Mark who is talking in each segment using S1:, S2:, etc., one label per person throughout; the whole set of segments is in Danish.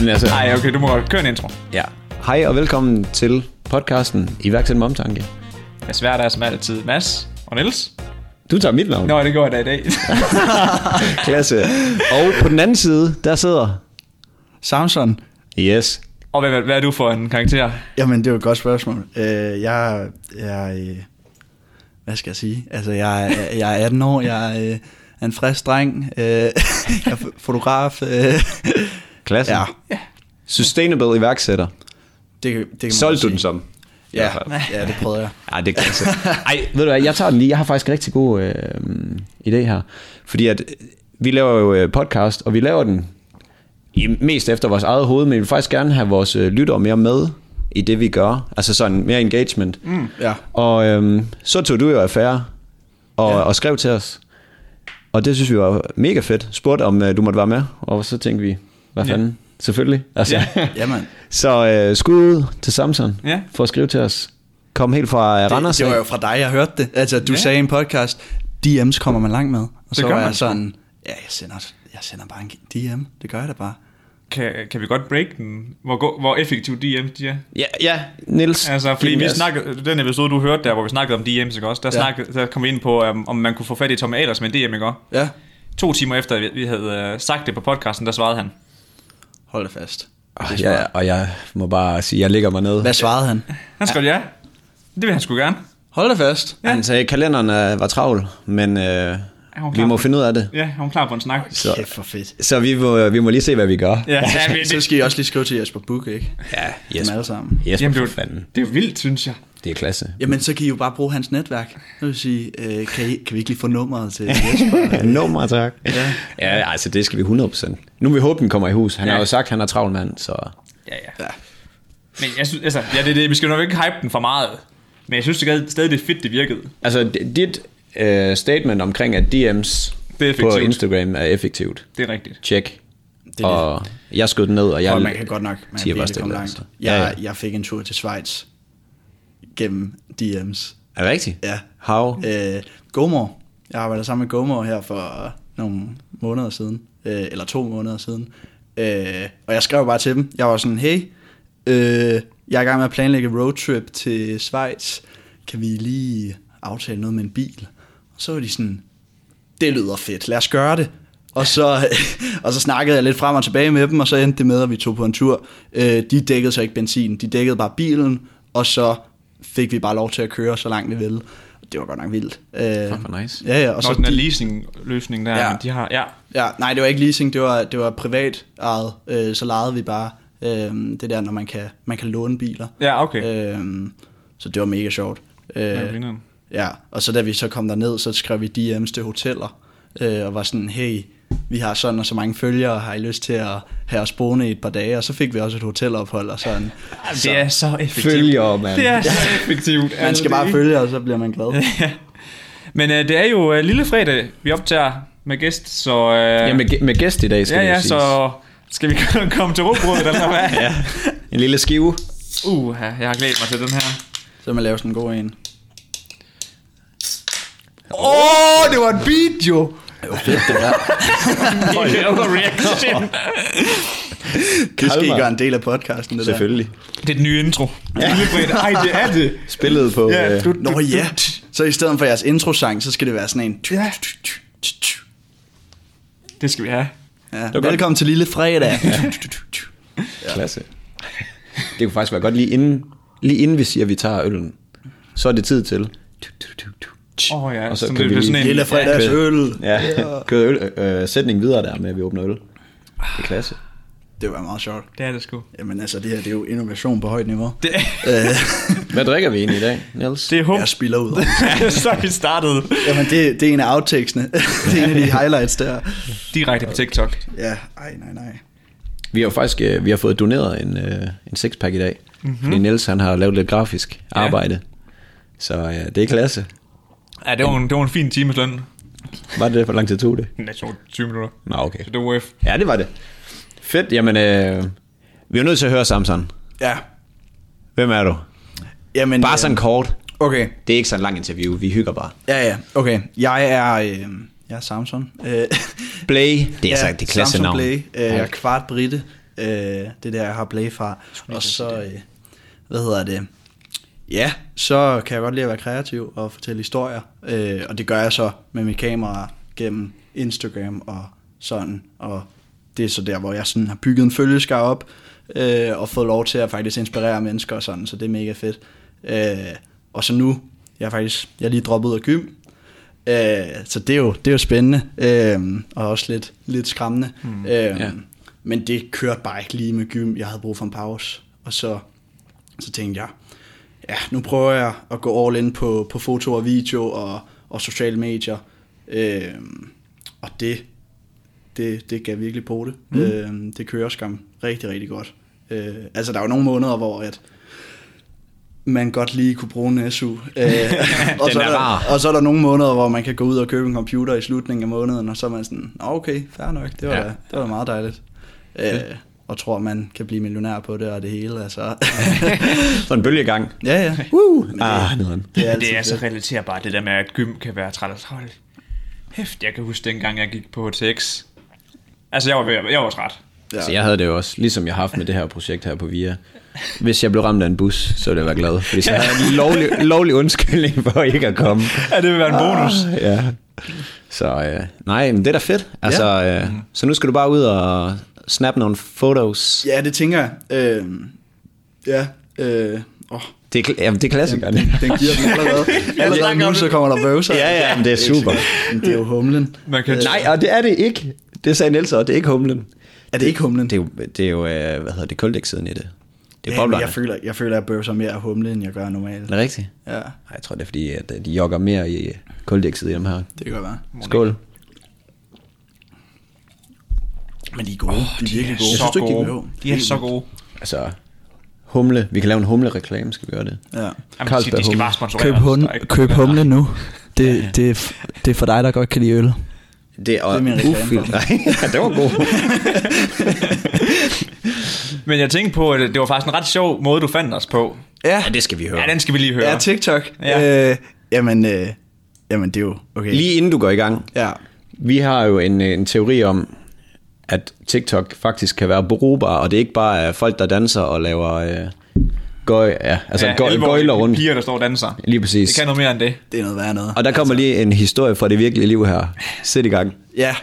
S1: Men altså,
S2: Nej, okay, du må godt køre en intro.
S1: ja. Hej og velkommen til podcasten Iværksæt med omtanke.
S2: Jeg svært er som altid Mads og Niels.
S1: Du tager mit navn.
S2: Nå, det går jeg da i dag.
S1: Klasse. Og på den anden side, der sidder...
S3: Samson?
S1: Yes.
S2: og hvad, hvad, hvad er du for en karakter?
S3: Jamen, det er jo et godt spørgsmål. Øh, jeg, jeg, øh, hvad skal jeg sige? Altså, jeg, er- jeg er 18 år, jeg øh, er en frisk dreng, øh, jeg er f- fotograf. Øh,
S1: Klasse.
S3: ja,
S1: Sustainable iværksætter.
S3: det, kan- det kan man godt
S1: Solgte du
S3: sige.
S1: den som?
S3: Ja,
S1: I hvert fald.
S3: ja, det prøvede jeg.
S1: Ja, det er klasse. Ej, ved du hvad, jeg tager den lige. Jeg har faktisk en rigtig god øh, idé her. Fordi at øh, vi laver jo øh, podcast, og vi laver den i, mest efter vores eget hoved, men vi vil faktisk gerne have vores øh, lyttere mere med i det, vi gør. Altså sådan mere engagement. Mm.
S3: Ja.
S1: Og øhm, så tog du jo affære og, ja. og skrev til os. Og det synes vi var mega fedt. Spurgte om øh, du måtte være med, og så tænkte vi, hvad fanden? Selvfølgelig. Altså.
S2: Ja.
S3: Jamen,
S1: så øh, skud til Samson
S2: Ja.
S1: for at skrive til os. Kom helt fra øh, Randers.
S3: det, det var
S1: af.
S3: jo fra dig, jeg hørte det. Altså, du
S2: Ja.
S3: ja. sagde i en podcast, DM's kommer man langt med. Og så
S2: gør
S3: var
S2: man
S3: jeg
S2: sgu.
S3: sådan, ja, jeg sender, jeg sender bare en DM. Det gør jeg da bare.
S2: Kan, kan vi godt break den? Hvor, go- hvor effektiv DM de er?
S1: Ja, ja. Niels.
S2: Altså, fordi
S1: din
S2: vi
S1: gas.
S2: snakkede, den episode, du hørte der, hvor vi snakkede om DM's, ikke også? Der, ja.
S3: Ja.
S2: snakkede, der kom vi ind på, um, om man kunne få fat i Tommy Ahlers med en DM, ikke også?
S3: Ja,
S2: To timer efter, vi- vi havde uh, sagt det på podcasten, der svarede han.
S3: hold da fast.
S1: Ah, Ja, og jeg må bare sige, jeg ligger mig ned.
S3: Hvad svarede han?
S2: Han skrev ja. Det vil han sgu gerne.
S3: Hold da fast.
S1: Ja. Han sagde, at kalenderen øh, var travl, men øh,
S2: hun
S1: vi
S2: klar?
S1: må finde ud af det.
S2: Ja, han var klar på en snak.
S1: Så,
S3: Kæft for fedt.
S1: så vi, må, øh, vi må lige se, hvad vi gør.
S2: Ja, ja men
S3: Så
S2: det,
S3: skal I også lige skrive til Jesper Buch, ikke?
S1: ja
S3: Yes. Dem alle sammen.
S1: Jesper,
S2: jamen, det, er
S1: for
S2: jo-
S1: fanden.
S2: det er jo vildt, synes jeg.
S1: Det er klasse.
S3: Jamen, så kan I jo bare bruge hans netværk. Det vil sige, øh, kan, I, kan vi ikke lige få nummeret til Jesper?
S1: Ja, nummer, tak. Ja. ja, altså det skal vi 100%. Nu vil vi håbe, den kommer i hus. Han
S2: Ja.
S1: har jo sagt, at han er travl mand, så...
S2: Ja, ja. Men jeg synes, altså, ja, det, er det, vi skal jo nok ikke hype den for meget. Men jeg synes det stadig, det er fedt, det virkede.
S1: Altså d- dit øh, statement omkring, at DM's
S2: Det er effektivt.
S1: på Instagram er effektivt.
S2: Det er rigtigt.
S1: Tjek.
S3: det.
S1: Og jeg skød den ned, og jeg...
S3: Og man kan godt nok, man
S1: siger
S3: kan
S1: bare
S3: virkelig komme
S1: stille,
S3: langt.
S1: altså. Ja, ja.
S3: Jeg, jeg fik en tur til Schweiz gennem DM's.
S1: Er det rigtigt?
S3: Ja.
S1: How?
S3: Øh, Gomor. Jeg arbejdede sammen med Gomor her for nogle måneder siden. Øh, eller to måneder siden. Øh, og jeg skrev bare til dem. Jeg var sådan, hey, øh, jeg er i gang med at planlægge en roadtrip til Schweiz. Kan vi lige aftale noget med en bil? Og så var de sådan, det lyder fedt, lad os gøre det. Og så, og så snakkede jeg lidt frem og tilbage med dem, og så endte det med, at vi tog på en tur. Øh, de dækkede så ikke benzin, de dækkede bare bilen, og så fik vi bare lov til at køre så langt vi ville. Det var godt nok vildt. Øh,
S1: Fuck, hvor nice.
S3: Ja, ja, og
S2: Og så Nå,
S3: så
S2: den her
S3: de,
S2: leasing-løsning der, ja.
S3: Ja.
S2: de har... Ja,
S3: ja, nej, det var ikke leasing, det var, det var privat ejet. Øh, så lejede vi bare øh, det der, når man kan, man kan låne biler.
S2: ja okay. Øh,
S3: Øh, så det var mega sjovt. Øh,
S2: ja,
S3: Ja, og så da vi så kom derned, så skrev vi DM's til hoteller, øh, og var sådan, hey, vi har sådan og så mange følgere, har I lyst til at have os boende i et par dage? Og så fik vi også et hotelophold og sådan.
S2: det er så effektivt.
S1: Følger, mand.
S2: Det er så effektivt.
S3: Man
S2: altså,
S3: skal
S2: det er
S3: bare
S2: ikke-
S3: følge, og så bliver man glad.
S2: Men øh, det er jo øh, lille fredag, vi optager med gæst, så... Øh,
S1: Ja, med, gæ- med gæst i dag, skal
S2: ja,
S1: det jo
S2: ja,
S1: siges.
S2: så... Skal vi komme til råbrødet, eller hvad? ja.
S1: En lille skive.
S2: Uh, jeg har glædet mig til den her.
S3: Så man laver sådan en god en.
S1: Åh, oh, det var en beat, jo!
S2: Overreaction.
S3: Det skal I
S1: Kalmar.
S3: gøre en del af podcasten, det
S1: Selvfølgelig.
S2: det er den nye intro. Lille fredag. Ej, det er det.
S1: Spillet på...
S2: Ja,
S1: øh,
S2: du,
S3: der. Nå ja, så i stedet for jeres introsang, så skal det være sådan en...
S2: Ja. Det skal vi have.
S3: Ja, velkommen til lille fredag.
S1: Klasse. Det kunne faktisk være godt lige inden, lige inden vi siger, at vi tager øllen. Så er det tid til.
S2: Åh oh, ja,
S1: Og
S2: og
S1: så
S2: så
S1: kan
S2: sådan, det
S1: vi
S2: bliver
S1: lige-
S2: sådan en...
S3: Lille fredags øl.
S1: Ja, kører øl, øh, sætning videre der med, at vi åbner øl. Det er klasse.
S3: Det var meget sjovt.
S2: Det er det sgu.
S3: Jamen altså, det her det er jo innovation på højt niveau. Øh,
S2: Det,
S1: Hvad drikker vi egentlig i dag, Niels?
S2: det er hum.
S3: Jeg spiller ud over.
S2: så vi startede
S3: Jamen, det, det er en af outtakesene. det er en af de highlights der.
S2: direkte på TikTok.
S3: Ja, ej, nej, nej.
S1: Vi har jo faktisk øh, vi har fået doneret en, øh, en sixpack i dag. Mm-hmm. Fordi Niels han har lavet lidt grafisk arbejde. Så ja, det er klasse.
S2: Ja, det var en, det var en fin timesløn.
S1: Var det det? Hvor lang tid tog det?
S2: Den tog 20 minutter.
S1: Nå, okay.
S2: Så det var F.
S1: Ja, det var det. Fedt. Jamen, øh, vi er jo nødt til at høre Samson.
S3: Ja.
S1: Hvem er du?
S3: Jamen, øh,
S1: Bare sådan kort.
S3: Okay,
S1: Det er ikke så en lang interview. Vi hygger bare.
S3: ja, ja, okay. Jeg er, øh, jeg er Samson. Øh,
S1: Blay. Det er ja, så det klasse
S3: Samson
S1: navn.
S3: Blay. Øh, jeg er
S1: Ja.
S3: kvart brite. Øh, det er der, jeg har play fra. Og så, øh, hvad hedder det? Ja, så kan jeg godt lide at være kreativ og fortælle historier. Øh, og det gør jeg så med mit kamera gennem Instagram og sådan. Og det er så der, hvor jeg sådan har bygget en følgeskar op øh, og fået lov til at faktisk inspirere mennesker og sådan. Så det er mega fedt. Øh, og så nu, jeg er faktisk jeg er lige droppet ud af gym, Øh, så det er jo, det er jo spændende, øh, og også lidt, lidt skræmmende. Mm, øh,
S1: ja.
S3: Men det kørte bare ikke lige med gym. Jeg havde brug for en pause. Og så, så tænkte jeg, ja, nu prøver jeg at gå all in på, på foto og video og, og sociale medier. Øh, og det, det, det gav virkelig på det. Mm. Øh, det kører skam rigtig, rigtig godt. Øh, altså, der er jo nogle måneder, hvor at, man godt lige kunne bruge en SU. Øh, og, så
S2: er
S3: er
S2: rar.
S3: der, og så er der nogle måneder, hvor man kan gå ud og købe en computer i slutningen af måneden, og så er man sådan, "Nå, okay, fair nok, det var,
S1: Ja.
S3: ja. det var meget dejligt. Øh, og tror, man kan blive millionær på det og det hele. Altså.
S1: Sådan en bølgegang.
S3: ja, ja. Woo!
S1: Ah, nederen.
S3: Det er, altså altid
S2: Det er så
S3: fedt.
S2: relaterbart, det der med, at gym kan være træt og træt. Hæft, jeg kan huske dengang, jeg gik på HTX. Altså, jeg var, ved- jeg var træt.
S1: Ja. Så jeg havde det jo også, ligesom jeg har haft med det her projekt her på VIA. Hvis jeg blev ramt af en bus, så ville jeg være glad. Fordi så havde jeg en lovlig, lovlig undskyldning for ikke at komme.
S2: Ja, det vil være en
S3: Ah.
S2: bonus.
S1: Ah, Ja. Så øh, nej, men det er da fedt. Altså, ja. øh, så nu skal du bare ud og snap nogle photos.
S3: Ja, det tænker jeg. Øh, ja, øh, åh,
S1: Det er, kl- jamen, det er klassikerne.
S3: den, den giver den allerede. allerede
S2: snakker om
S3: nu,
S2: det.
S3: så kommer der bøvser.
S1: Ja, ja, men det er super.
S3: Men det er jo humlen. Øh,
S2: Man kan,
S1: Nej, og det er det ikke. Det sagde Niels, og det er ikke humlen.
S3: Er det ikke humlen?
S1: Det er jo, det er jo øh, hvad hedder det, koldioxiden i det. Det er
S3: ja, men
S1: boblerne.
S3: jeg, føler, jeg føler, at jeg bøvser mere af humle, end jeg gør normalt.
S1: Er det rigtigt?
S3: Ja,
S1: Nej, jeg tror, det er fordi, at øh, de jogger mere i øh, koldioxid i dem her.
S3: det kan godt være.
S1: Skål.
S3: Men de er gode. Oh, de er virkelig
S2: så
S3: gode.
S2: gode.
S3: de er
S2: De er så gode.
S1: Altså, humle. Vi kan lave en humle-reklame, skal vi gøre det.
S3: Ja.
S2: Jamen, de, de skal
S1: humle.
S2: bare sponsorere
S4: Køb,
S2: os.
S4: hun,
S2: Der er ikke-
S4: køb humle nu. Det, det, er f- det er for dig, der godt kan lide øl.
S1: Det er,
S3: Det er min reklame.
S1: ufiltret. Nej, ja, det var god.
S2: Men jeg tænkte på, at det var faktisk en ret sjov måde, du fandt os på.
S1: Ja, det skal vi høre.
S2: Ja, den skal vi lige høre.
S3: Ja, TikTok.
S2: Ja.
S3: Ja. Øh, jamen, øh, jamen, det er jo okay.
S1: Lige inden du går i gang.
S3: Ja.
S1: Vi har jo en, øh, en teori om, at TikTok faktisk kan være brugbar, og det er ikke bare er folk, der danser og laver øh, gøj, ja, altså ja, gøj,
S2: 11-årige
S1: gøjler rundt.
S2: Piger, der står og danser.
S1: Lige præcis.
S2: Det kan noget mere end det.
S3: Det er noget værd noget.
S1: Og der kommer lige en historie fra det virkelige liv her. Sæt i gang.
S3: Ja.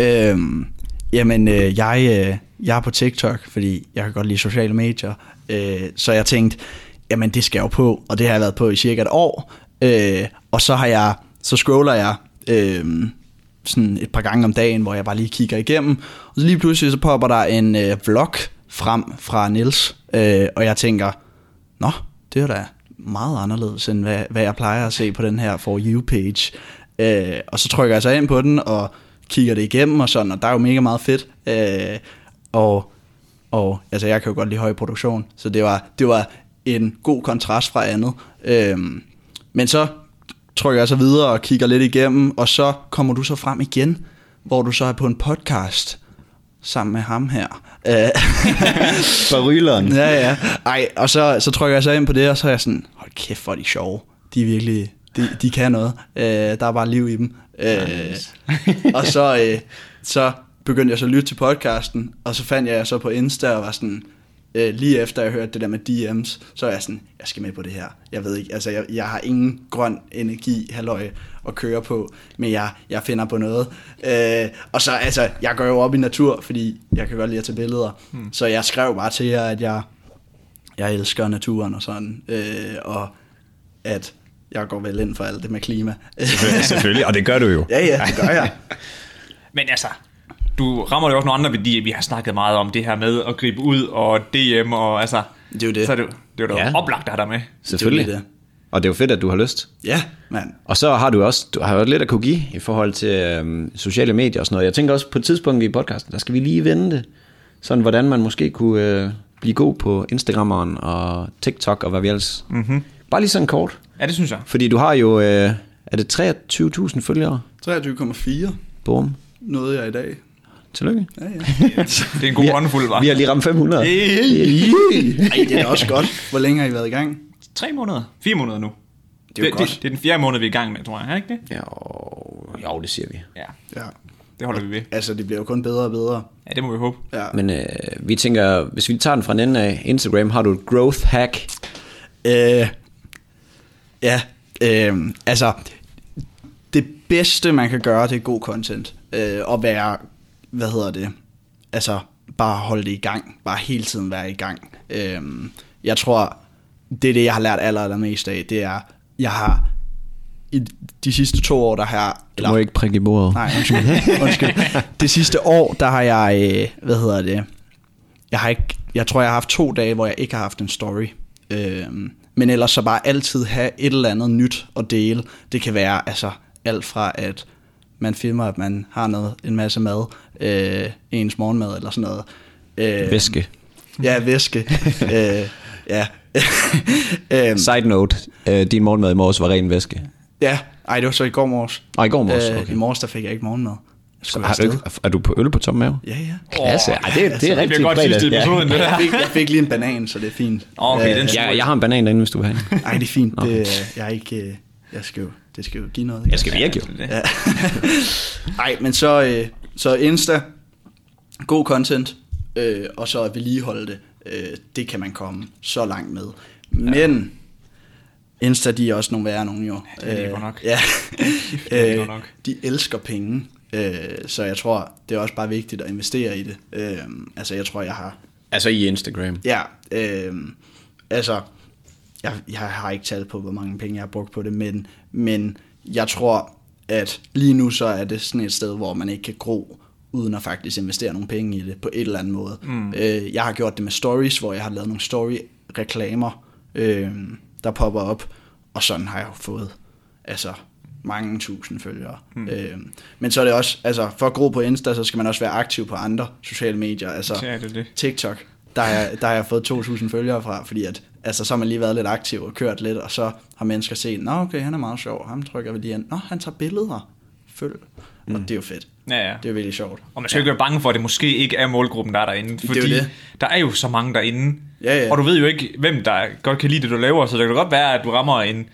S3: Øhm, jamen, øh, jeg, øh, jeg er på TikTok, fordi jeg kan godt lide sociale medier. Øh, så jeg tænkte, jamen det skal jeg jo på, og det har jeg været på i cirka et år. Øh, og så har jeg, så scroller jeg øh, sådan et par gange om dagen, hvor jeg bare lige kigger igennem. Og så lige pludselig så popper der en øh, vlog frem fra Nils, øh, og jeg tænker, Nå, det er da meget anderledes, end hvad, hvad jeg plejer at se på den her For You-page. Øh, og så trykker jeg så ind på den, og kigger det igennem og sådan, og der er jo mega meget fedt. Øh, og, og altså, jeg kan jo godt lide høj produktion, så det var, det var en god kontrast fra andet. Øh, men så trykker jeg så videre og kigger lidt igennem, og så kommer du så frem igen, hvor du så er på en podcast sammen med ham her. Øh,
S1: Fra Ryleren.
S3: Ja, ja. Ej, og så, så trykker jeg så ind på det, og så er jeg sådan, hold kæft, hvor er de sjove. De er virkelig, de, de kan noget. Øh, der er bare liv i dem. Øh, og så, øh, så begyndte jeg så at lytte til podcasten, og så fandt jeg jer så på Insta og var sådan, øh, lige efter jeg hørte det der med DM's, så er jeg sådan, jeg skal med på det her. Jeg ved ikke, altså jeg, jeg har ingen grøn energi, halløj, at køre på, men jeg, jeg finder på noget. Øh, og så altså, jeg går jo op i natur, fordi jeg kan godt lide at tage billeder.
S1: Hmm.
S3: Mm. Så jeg skrev bare til jer, at jeg, jeg elsker naturen og sådan, øh, og at jeg går vel ind for alt det med klima.
S1: Selvfølgelig, og det gør du jo.
S3: ja, ja, det gør jeg.
S2: Men altså, du rammer jo også nogle andre værdier. Vi har snakket meget om det her med at gribe ud og DM og altså...
S3: Det er jo det.
S2: Så er det, det er jo
S1: Ja.
S2: ja. oplagt, der har der med.
S1: Selvfølgelig.
S3: Det er jo det.
S1: Og det er jo fedt, at du har lyst.
S3: Ja, mand.
S1: Og så har du også du har jo lidt at kunne give i forhold til øhm, sociale medier og sådan noget. Jeg tænker også på et tidspunkt i podcasten, der skal vi lige vende det. Sådan hvordan man måske kunne øh, blive god på Instagrammeren og TikTok og hvad vi ellers.
S3: Mhm.
S1: Mm-hmm. Bare lige sådan kort.
S2: Ja, det synes jeg.
S1: Fordi du har jo, øh, er det 23.000 følgere?
S3: 23,4
S1: Boom.
S3: nåede jeg i dag.
S1: Tillykke.
S3: Ja, ja.
S2: Det er en god håndfuld, var.
S1: Vi har lige ramt 500.
S3: Ej, det er da også godt. Hvor længe har I været i gang?
S2: Tre måneder? Fire måneder nu.
S3: Det er jo
S2: det,
S3: godt.
S2: det, det, er den fjerde måned, vi er i gang med, tror jeg. Er det ikke det?
S1: Jo, jo, det siger vi.
S2: Ja.
S3: Ja.
S2: Det holder vi ved.
S3: Altså, det bliver jo kun bedre og bedre.
S2: Ja, det må vi håbe.
S3: Ja.
S1: Men øh, vi tænker, hvis vi tager den fra den ende af Instagram, har du et growth hack?
S3: Øh, ja, øh, altså, det bedste man kan gøre, det er god content. Øh, og være, hvad hedder det, altså bare holde det i gang. Bare hele tiden være i gang. Øh, jeg tror, det er det, jeg har lært aller, allermest af. Det er, jeg har i de sidste to år, der har jeg...
S4: Du må ikke prikke i bordet.
S3: Nej, undskyld. undskyld. Det sidste år, der har jeg, øh, hvad hedder det, jeg har ikke, jeg tror, jeg har haft to dage, hvor jeg ikke har haft en story. Øhm, men ellers så bare altid have et eller andet nyt at dele. Det kan være altså alt fra, at man filmer, at man har noget, en masse mad, øh, ens morgenmad eller sådan noget. Øh,
S1: Væske.
S3: Ja, væske. øh, ja. øhm,
S1: Mm. Side note, øh, din morgenmad i morges var ren væske.
S3: ja, ej, det var så i går morges.
S1: Og i går morges,
S3: Øh, I
S1: okay.
S3: morges, der fik jeg ikke morgenmad. Jeg skulle
S1: Har du ikke,
S3: afsted.
S1: er du på øl på tom mave?
S3: Ja, ja.
S1: Klasse. Ej, det, det er
S2: Det
S1: rigtig
S2: bliver godt sidste episode, det der.
S3: Jeg fik, jeg fik lige en banan, så det er fint.
S2: Okay,
S3: Øh,
S2: den
S1: Ja. Jeg, jeg har en banan derinde, hvis du vil have en.
S3: Ej, det er fint.
S1: Nå.
S3: Det, øh, jeg er ikke... øh, Jeg skal jo, det skal jo give noget. ikke?
S1: Jeg skal virke jo.
S2: Det.
S3: Ja. Ej, men så, øh, så Insta, god content, øh, og så at vedligeholde det, øh, det kan man komme så langt med. Men Insta, de er også nogle værre nogen jo. Øh,
S2: Ja, det er de godt nok.
S3: Ja.
S2: det er de
S3: Øh,
S2: godt nok.
S3: de elsker penge, øh, så jeg tror, det er også bare vigtigt at investere i det. Øh, altså, jeg tror, jeg har
S1: Altså i Instagram.
S3: Ja,
S2: Øhm,
S3: øh, altså, jeg, jeg har ikke talt på, hvor mange penge jeg har brugt på det, men, men jeg tror, at lige nu så er det sådan et sted, hvor man ikke kan gro, uden at faktisk investere nogle penge i det på et eller andet måde. Mm. Øh, jeg har gjort det med stories, hvor jeg har lavet nogle story-reklamer, øh, der popper op, og sådan har jeg jo fået altså mange tusind følgere. Mm. Øh, men så er det også, altså for at gro på Insta, så skal man også være aktiv på andre sociale medier. Altså,
S2: Ja, det er det.
S3: TikTok, der har, jeg- der har jeg fået 2.000 følgere fra, fordi at, altså, så har man lige været lidt aktiv og kørt lidt, og så har mennesker set, nå okay, han er meget sjov, ham trykker vi lige ind, nå han tager billeder, følg, mm. og det er jo fedt,
S2: Ja, ja.
S3: det er jo virkelig sjovt.
S2: Og man skal jo ikke være bange for, at det måske ikke er målgruppen, der er derinde.
S3: er jo
S2: Fordi
S3: det.
S2: der er jo så mange derinde.
S3: Ja, ja.
S2: Og du ved jo ikke, hvem der godt kan lide det, du laver. Så det kan godt være, at du rammer en, en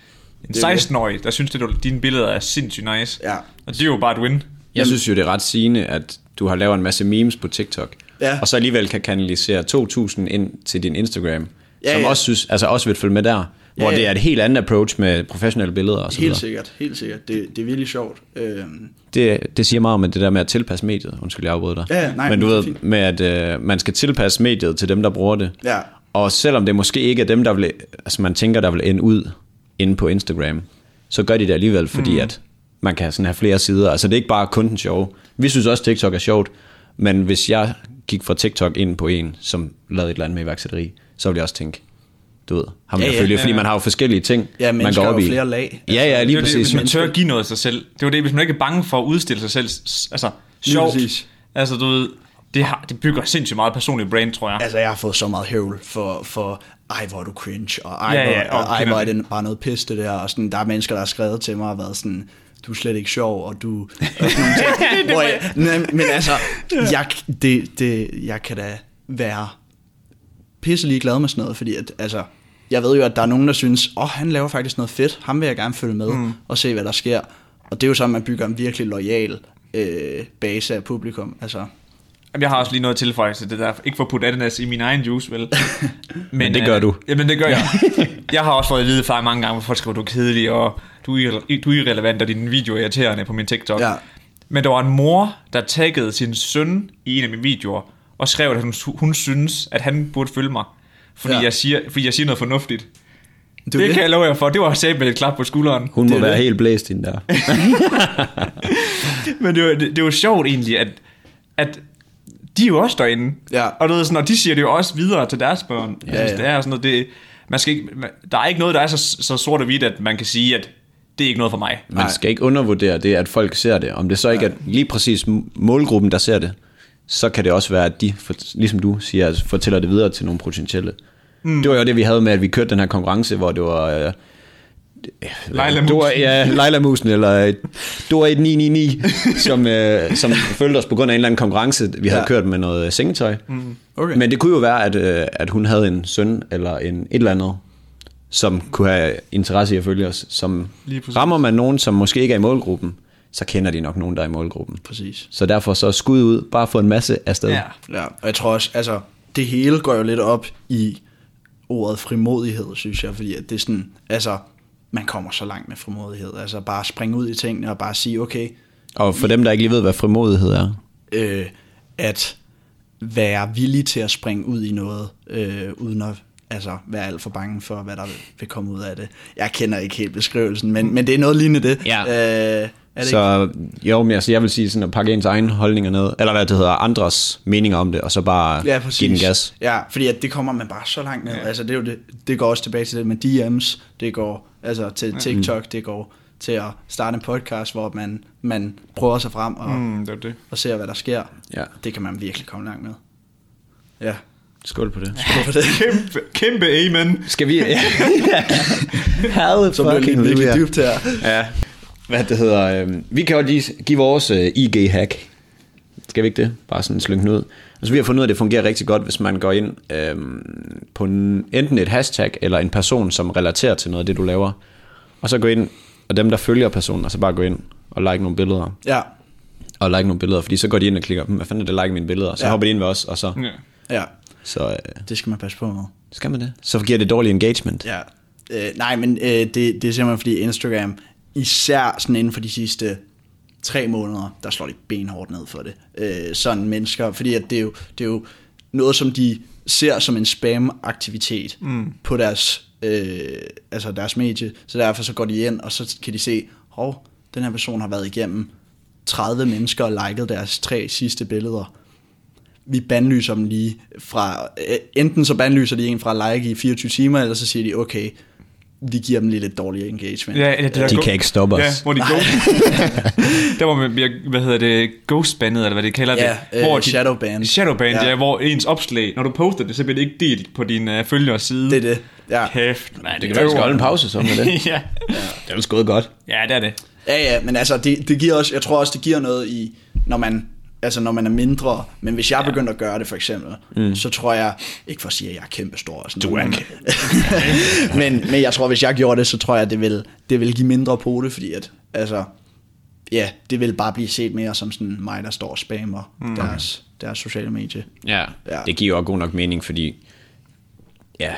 S3: er det.
S2: 16-årig, der synes, at du- dine billeder er sindssygt nice.
S3: Ja.
S2: Og det er jo bare et win.
S1: Jeg synes jo, det er ret sigende, at du har lavet en masse memes på TikTok,
S3: Ja.
S1: og så alligevel kan kanalisere 2.000 ind til din Instagram,
S3: Ja,
S1: som
S3: ja.
S1: også, synes, altså også vil følge med der, hvor
S3: Ja, ja.
S1: det er et helt andet approach med professionelle billeder og så
S3: Helt
S1: videre.
S3: sikkert, helt sikkert, det, det er virkelig sjovt. Øhm,
S1: Det, det siger meget om at det der med at tilpasse mediet. Undskyld, jeg afbryder dig.
S3: Ja, ja, nej,
S1: Men du
S3: det er
S1: ved,
S3: fint.
S1: med at øh, man skal tilpasse mediet til dem, der bruger det.
S3: Ja.
S1: Og selvom det måske ikke er dem, der vil, altså man tænker, der vil ende ud inde på Instagram, så gør de det alligevel, fordi mm. at man kan sådan have flere sider. Altså det er ikke bare kun den sjove. Vi synes også, TikTok er sjovt, men hvis jeg gik fra TikTok ind på en, som lavede et eller andet med iværksætteri, så ville jeg også tænke, du ved, ham
S3: Ja,
S1: ja, jeg
S3: ja.
S1: følger, fordi man har jo forskellige ting,
S3: Ja,
S1: man
S3: mennesker
S1: går
S3: har
S1: op
S3: jo
S1: i.
S3: flere lag.
S1: Ja, ja,
S2: Det
S1: lige
S2: er jo det,
S1: præcis.
S2: hvis man tør at give noget af sig selv. Det er jo det, hvis man ikke er bange for at udstille sig selv. s- Altså,
S3: Lige
S2: sjovt.
S3: præcis.
S2: Altså, du ved, det, har, det bygger sindssygt meget personligt brand, tror jeg.
S3: Altså, jeg har fået så meget høvl for, for ej, hvor er du cringe, og ej,
S2: Ja,
S3: hvor,
S2: ja, og
S3: og, ej,
S2: kender
S3: hvor er
S2: det.
S3: det bare noget pis, det der, og sådan, der er mennesker, der har skrevet til mig og været sådan, du er slet ikke sjov, og du... Og sådan nogle ting, hvor jeg, men, men altså, jeg, det, det, jeg kan da være pisselig glad med sådan noget, fordi at, altså, jeg ved jo, at der er nogen, der synes, åh, oh, han laver faktisk noget fedt, ham vil jeg gerne følge med mm. og se, hvad der sker. Og det er jo sådan, man bygger en virkelig lojal øh, base af publikum. Altså,
S2: Jamen, Jeg har også lige noget at tilføje til det der. Ikke for at putte ananas i min egen juice, vel? Men,
S1: det gør
S2: øh,
S1: du.
S2: Jamen, det gør jeg. jeg har også fået at vide fra mange gange, hvor folk skriver, du er kedelig, og du er, irre- du er irrelevant, og din video er irriterende på min TikTok.
S3: Ja.
S2: Men der var en mor, der taggede sin søn i en af mine videoer, og skrev, at hun, hun synes, at han burde følge mig. Fordi,
S3: Ja.
S2: ja. jeg, siger, fordi jeg siger noget fornuftigt.
S3: det, er
S2: Det,
S3: jo
S2: det, kan jeg love jer for. Det var sat med et klap på skulderen.
S1: Hun må
S3: Det er
S1: være
S3: det.
S1: helt blæst ind der.
S2: Men det var, det, det var sjovt egentlig, at, at de er jo også derinde.
S3: Ja.
S2: Og, du ved, sådan, og de siger det jo også videre til deres børn. Ja,
S3: ja.
S2: ja. Det er sådan noget, det, man skal ikke, man, der er ikke noget, der er så, så sort og hvidt, at man kan sige, at det er ikke noget for mig.
S1: Man skal ikke undervurdere det, at folk ser det. Om det så ikke er lige præcis målgruppen, der ser det, så kan det også være, at de, for- ligesom du siger, altså, fortæller det videre til nogle potentielle. Mm. Det var jo det, vi havde med, at vi kørte den her konkurrence, hvor det var... Øh,
S2: Leila
S1: Dora,
S2: Musen.
S1: ja, Leila Musen, eller øh, Dora 1999, som, øh, som følte os på grund af en eller anden konkurrence, vi havde
S3: Ja.
S1: ja. kørt med noget øh, sengetøj. Mm.
S3: Okay.
S1: Men det kunne jo være, at, øh, at hun havde en søn, eller en et eller andet, som kunne have interesse i at følge os. Som
S2: Lige præcis.
S1: rammer man nogen, som måske ikke er i målgruppen, så kender de nok nogen, der er i målgruppen.
S3: Præcis.
S1: Så derfor så skud ud, bare få en masse afsted.
S2: Ja.
S3: Ja, og jeg tror også, altså, det hele går jo lidt op i ordet frimodighed, synes jeg, fordi at det er sådan, altså, man kommer så langt med frimodighed, altså bare springe ud i tingene og bare sige, okay,
S1: Og for dem, der ikke lige ved, hvad frimodighed er.
S3: øh, at være villig til at springe ud i noget, øh, uden at altså, være alt for bange for, hvad der vil, vil komme ud af det. Jeg kender ikke helt beskrivelsen, men, men det er noget lignende det.
S1: Ja.
S3: Øh, er det ikke?
S1: Så jo, men altså, jeg vil sige sådan at pakke ens egen holdninger ned, eller hvad det hedder, andres meninger om det, og så bare
S3: Ja, præcis.
S1: give den gas.
S3: Ja, fordi at det kommer man bare så langt ned. Ja. Altså, det, er jo det, det går også tilbage til det med DM's, det går altså, til TikTok, det går til at starte en podcast, hvor man, man prøver sig frem og, mm.
S2: Mm, det var det.
S3: og ser, hvad der sker.
S1: Ja.
S3: Det kan man virkelig komme langt med. Ja,
S1: Skål på det.
S3: skål for det.
S2: Kæmpe, kæmpe amen.
S1: Skal vi... Herre
S3: Så bliver det virkelig dybt her.
S1: Ja. Hvad det hedder... Øh, vi kan jo lige give vores øh, IG-hack. Skal vi ikke det? Bare sådan slynge den ud. Altså, vi har fundet ud af, at det fungerer rigtig godt, hvis man går ind øh, på en, enten et hashtag eller en person, som relaterer til noget af det, du laver. Og så gå ind, og dem, der følger personen, og så bare gå ind og like nogle billeder.
S3: Ja,
S1: Og like nogle billeder, fordi så går de ind og klikker, "Hmm, hvad fanden er det, like mine billeder? Så
S3: Ja.
S1: ja. hopper de ind ved os, og så,
S2: Ja.
S3: ja,
S1: så øh,
S3: det skal man passe på med.
S1: skal man det. Så giver det dårlig engagement.
S3: Ja. Øh, nej, men øh, det, det er simpelthen fordi Instagram, især sådan inden for de sidste tre måneder, der slår de benhårdt ned for det. Øh, sådan mennesker, fordi at det, er jo, det er jo noget, som de ser som en spam-aktivitet mm. på deres, øh, altså deres medie. Så derfor så går de ind, og så kan de se, hov, den her person har været igennem 30 mennesker og liket deres tre sidste billeder vi bandlyser dem lige fra, øh, enten så bandlyser de en fra at like i 24 timer, eller så siger de, okay, vi giver dem lige lidt dårlig engagement.
S2: Ja, eller det der
S1: De
S2: go-
S1: kan ikke stoppe os.
S2: Ja, hvor de ghost, der hvor man bliver, hvad hedder det, ghostbandet, eller hvad de kalder
S3: Ja,
S2: det.
S3: øh,
S2: hvor
S3: shadowbanned.
S2: Shadowband, ja.
S3: Ja.
S2: ja. hvor ens opslag, når du poster det, så bliver det ikke delt på din uh, følgers side.
S3: Det er det. Ja,
S2: Kæft, man.
S1: Det kan du ikke holde en pause så med det.
S2: ja.
S1: Det er jo skået godt.
S2: ja, det er det.
S3: ja, ja men altså, det, det giver også, jeg tror også, det giver noget i, når man, altså, når man er mindre. Men hvis jeg begyndte at gøre det, for eksempel, mm. så tror jeg, ikke for at sige, at jeg er kæmpestor. Og sådan du
S1: er
S3: men, men jeg tror, hvis jeg gjorde det, så tror jeg, det vil, det vil give mindre på det, fordi at, altså, ja, det vil bare blive set mere som sådan mig, der står og spammer mm. deres, deres sociale medie.
S1: Ja.
S3: Ja.
S1: Det giver jo god nok mening, fordi... Ja.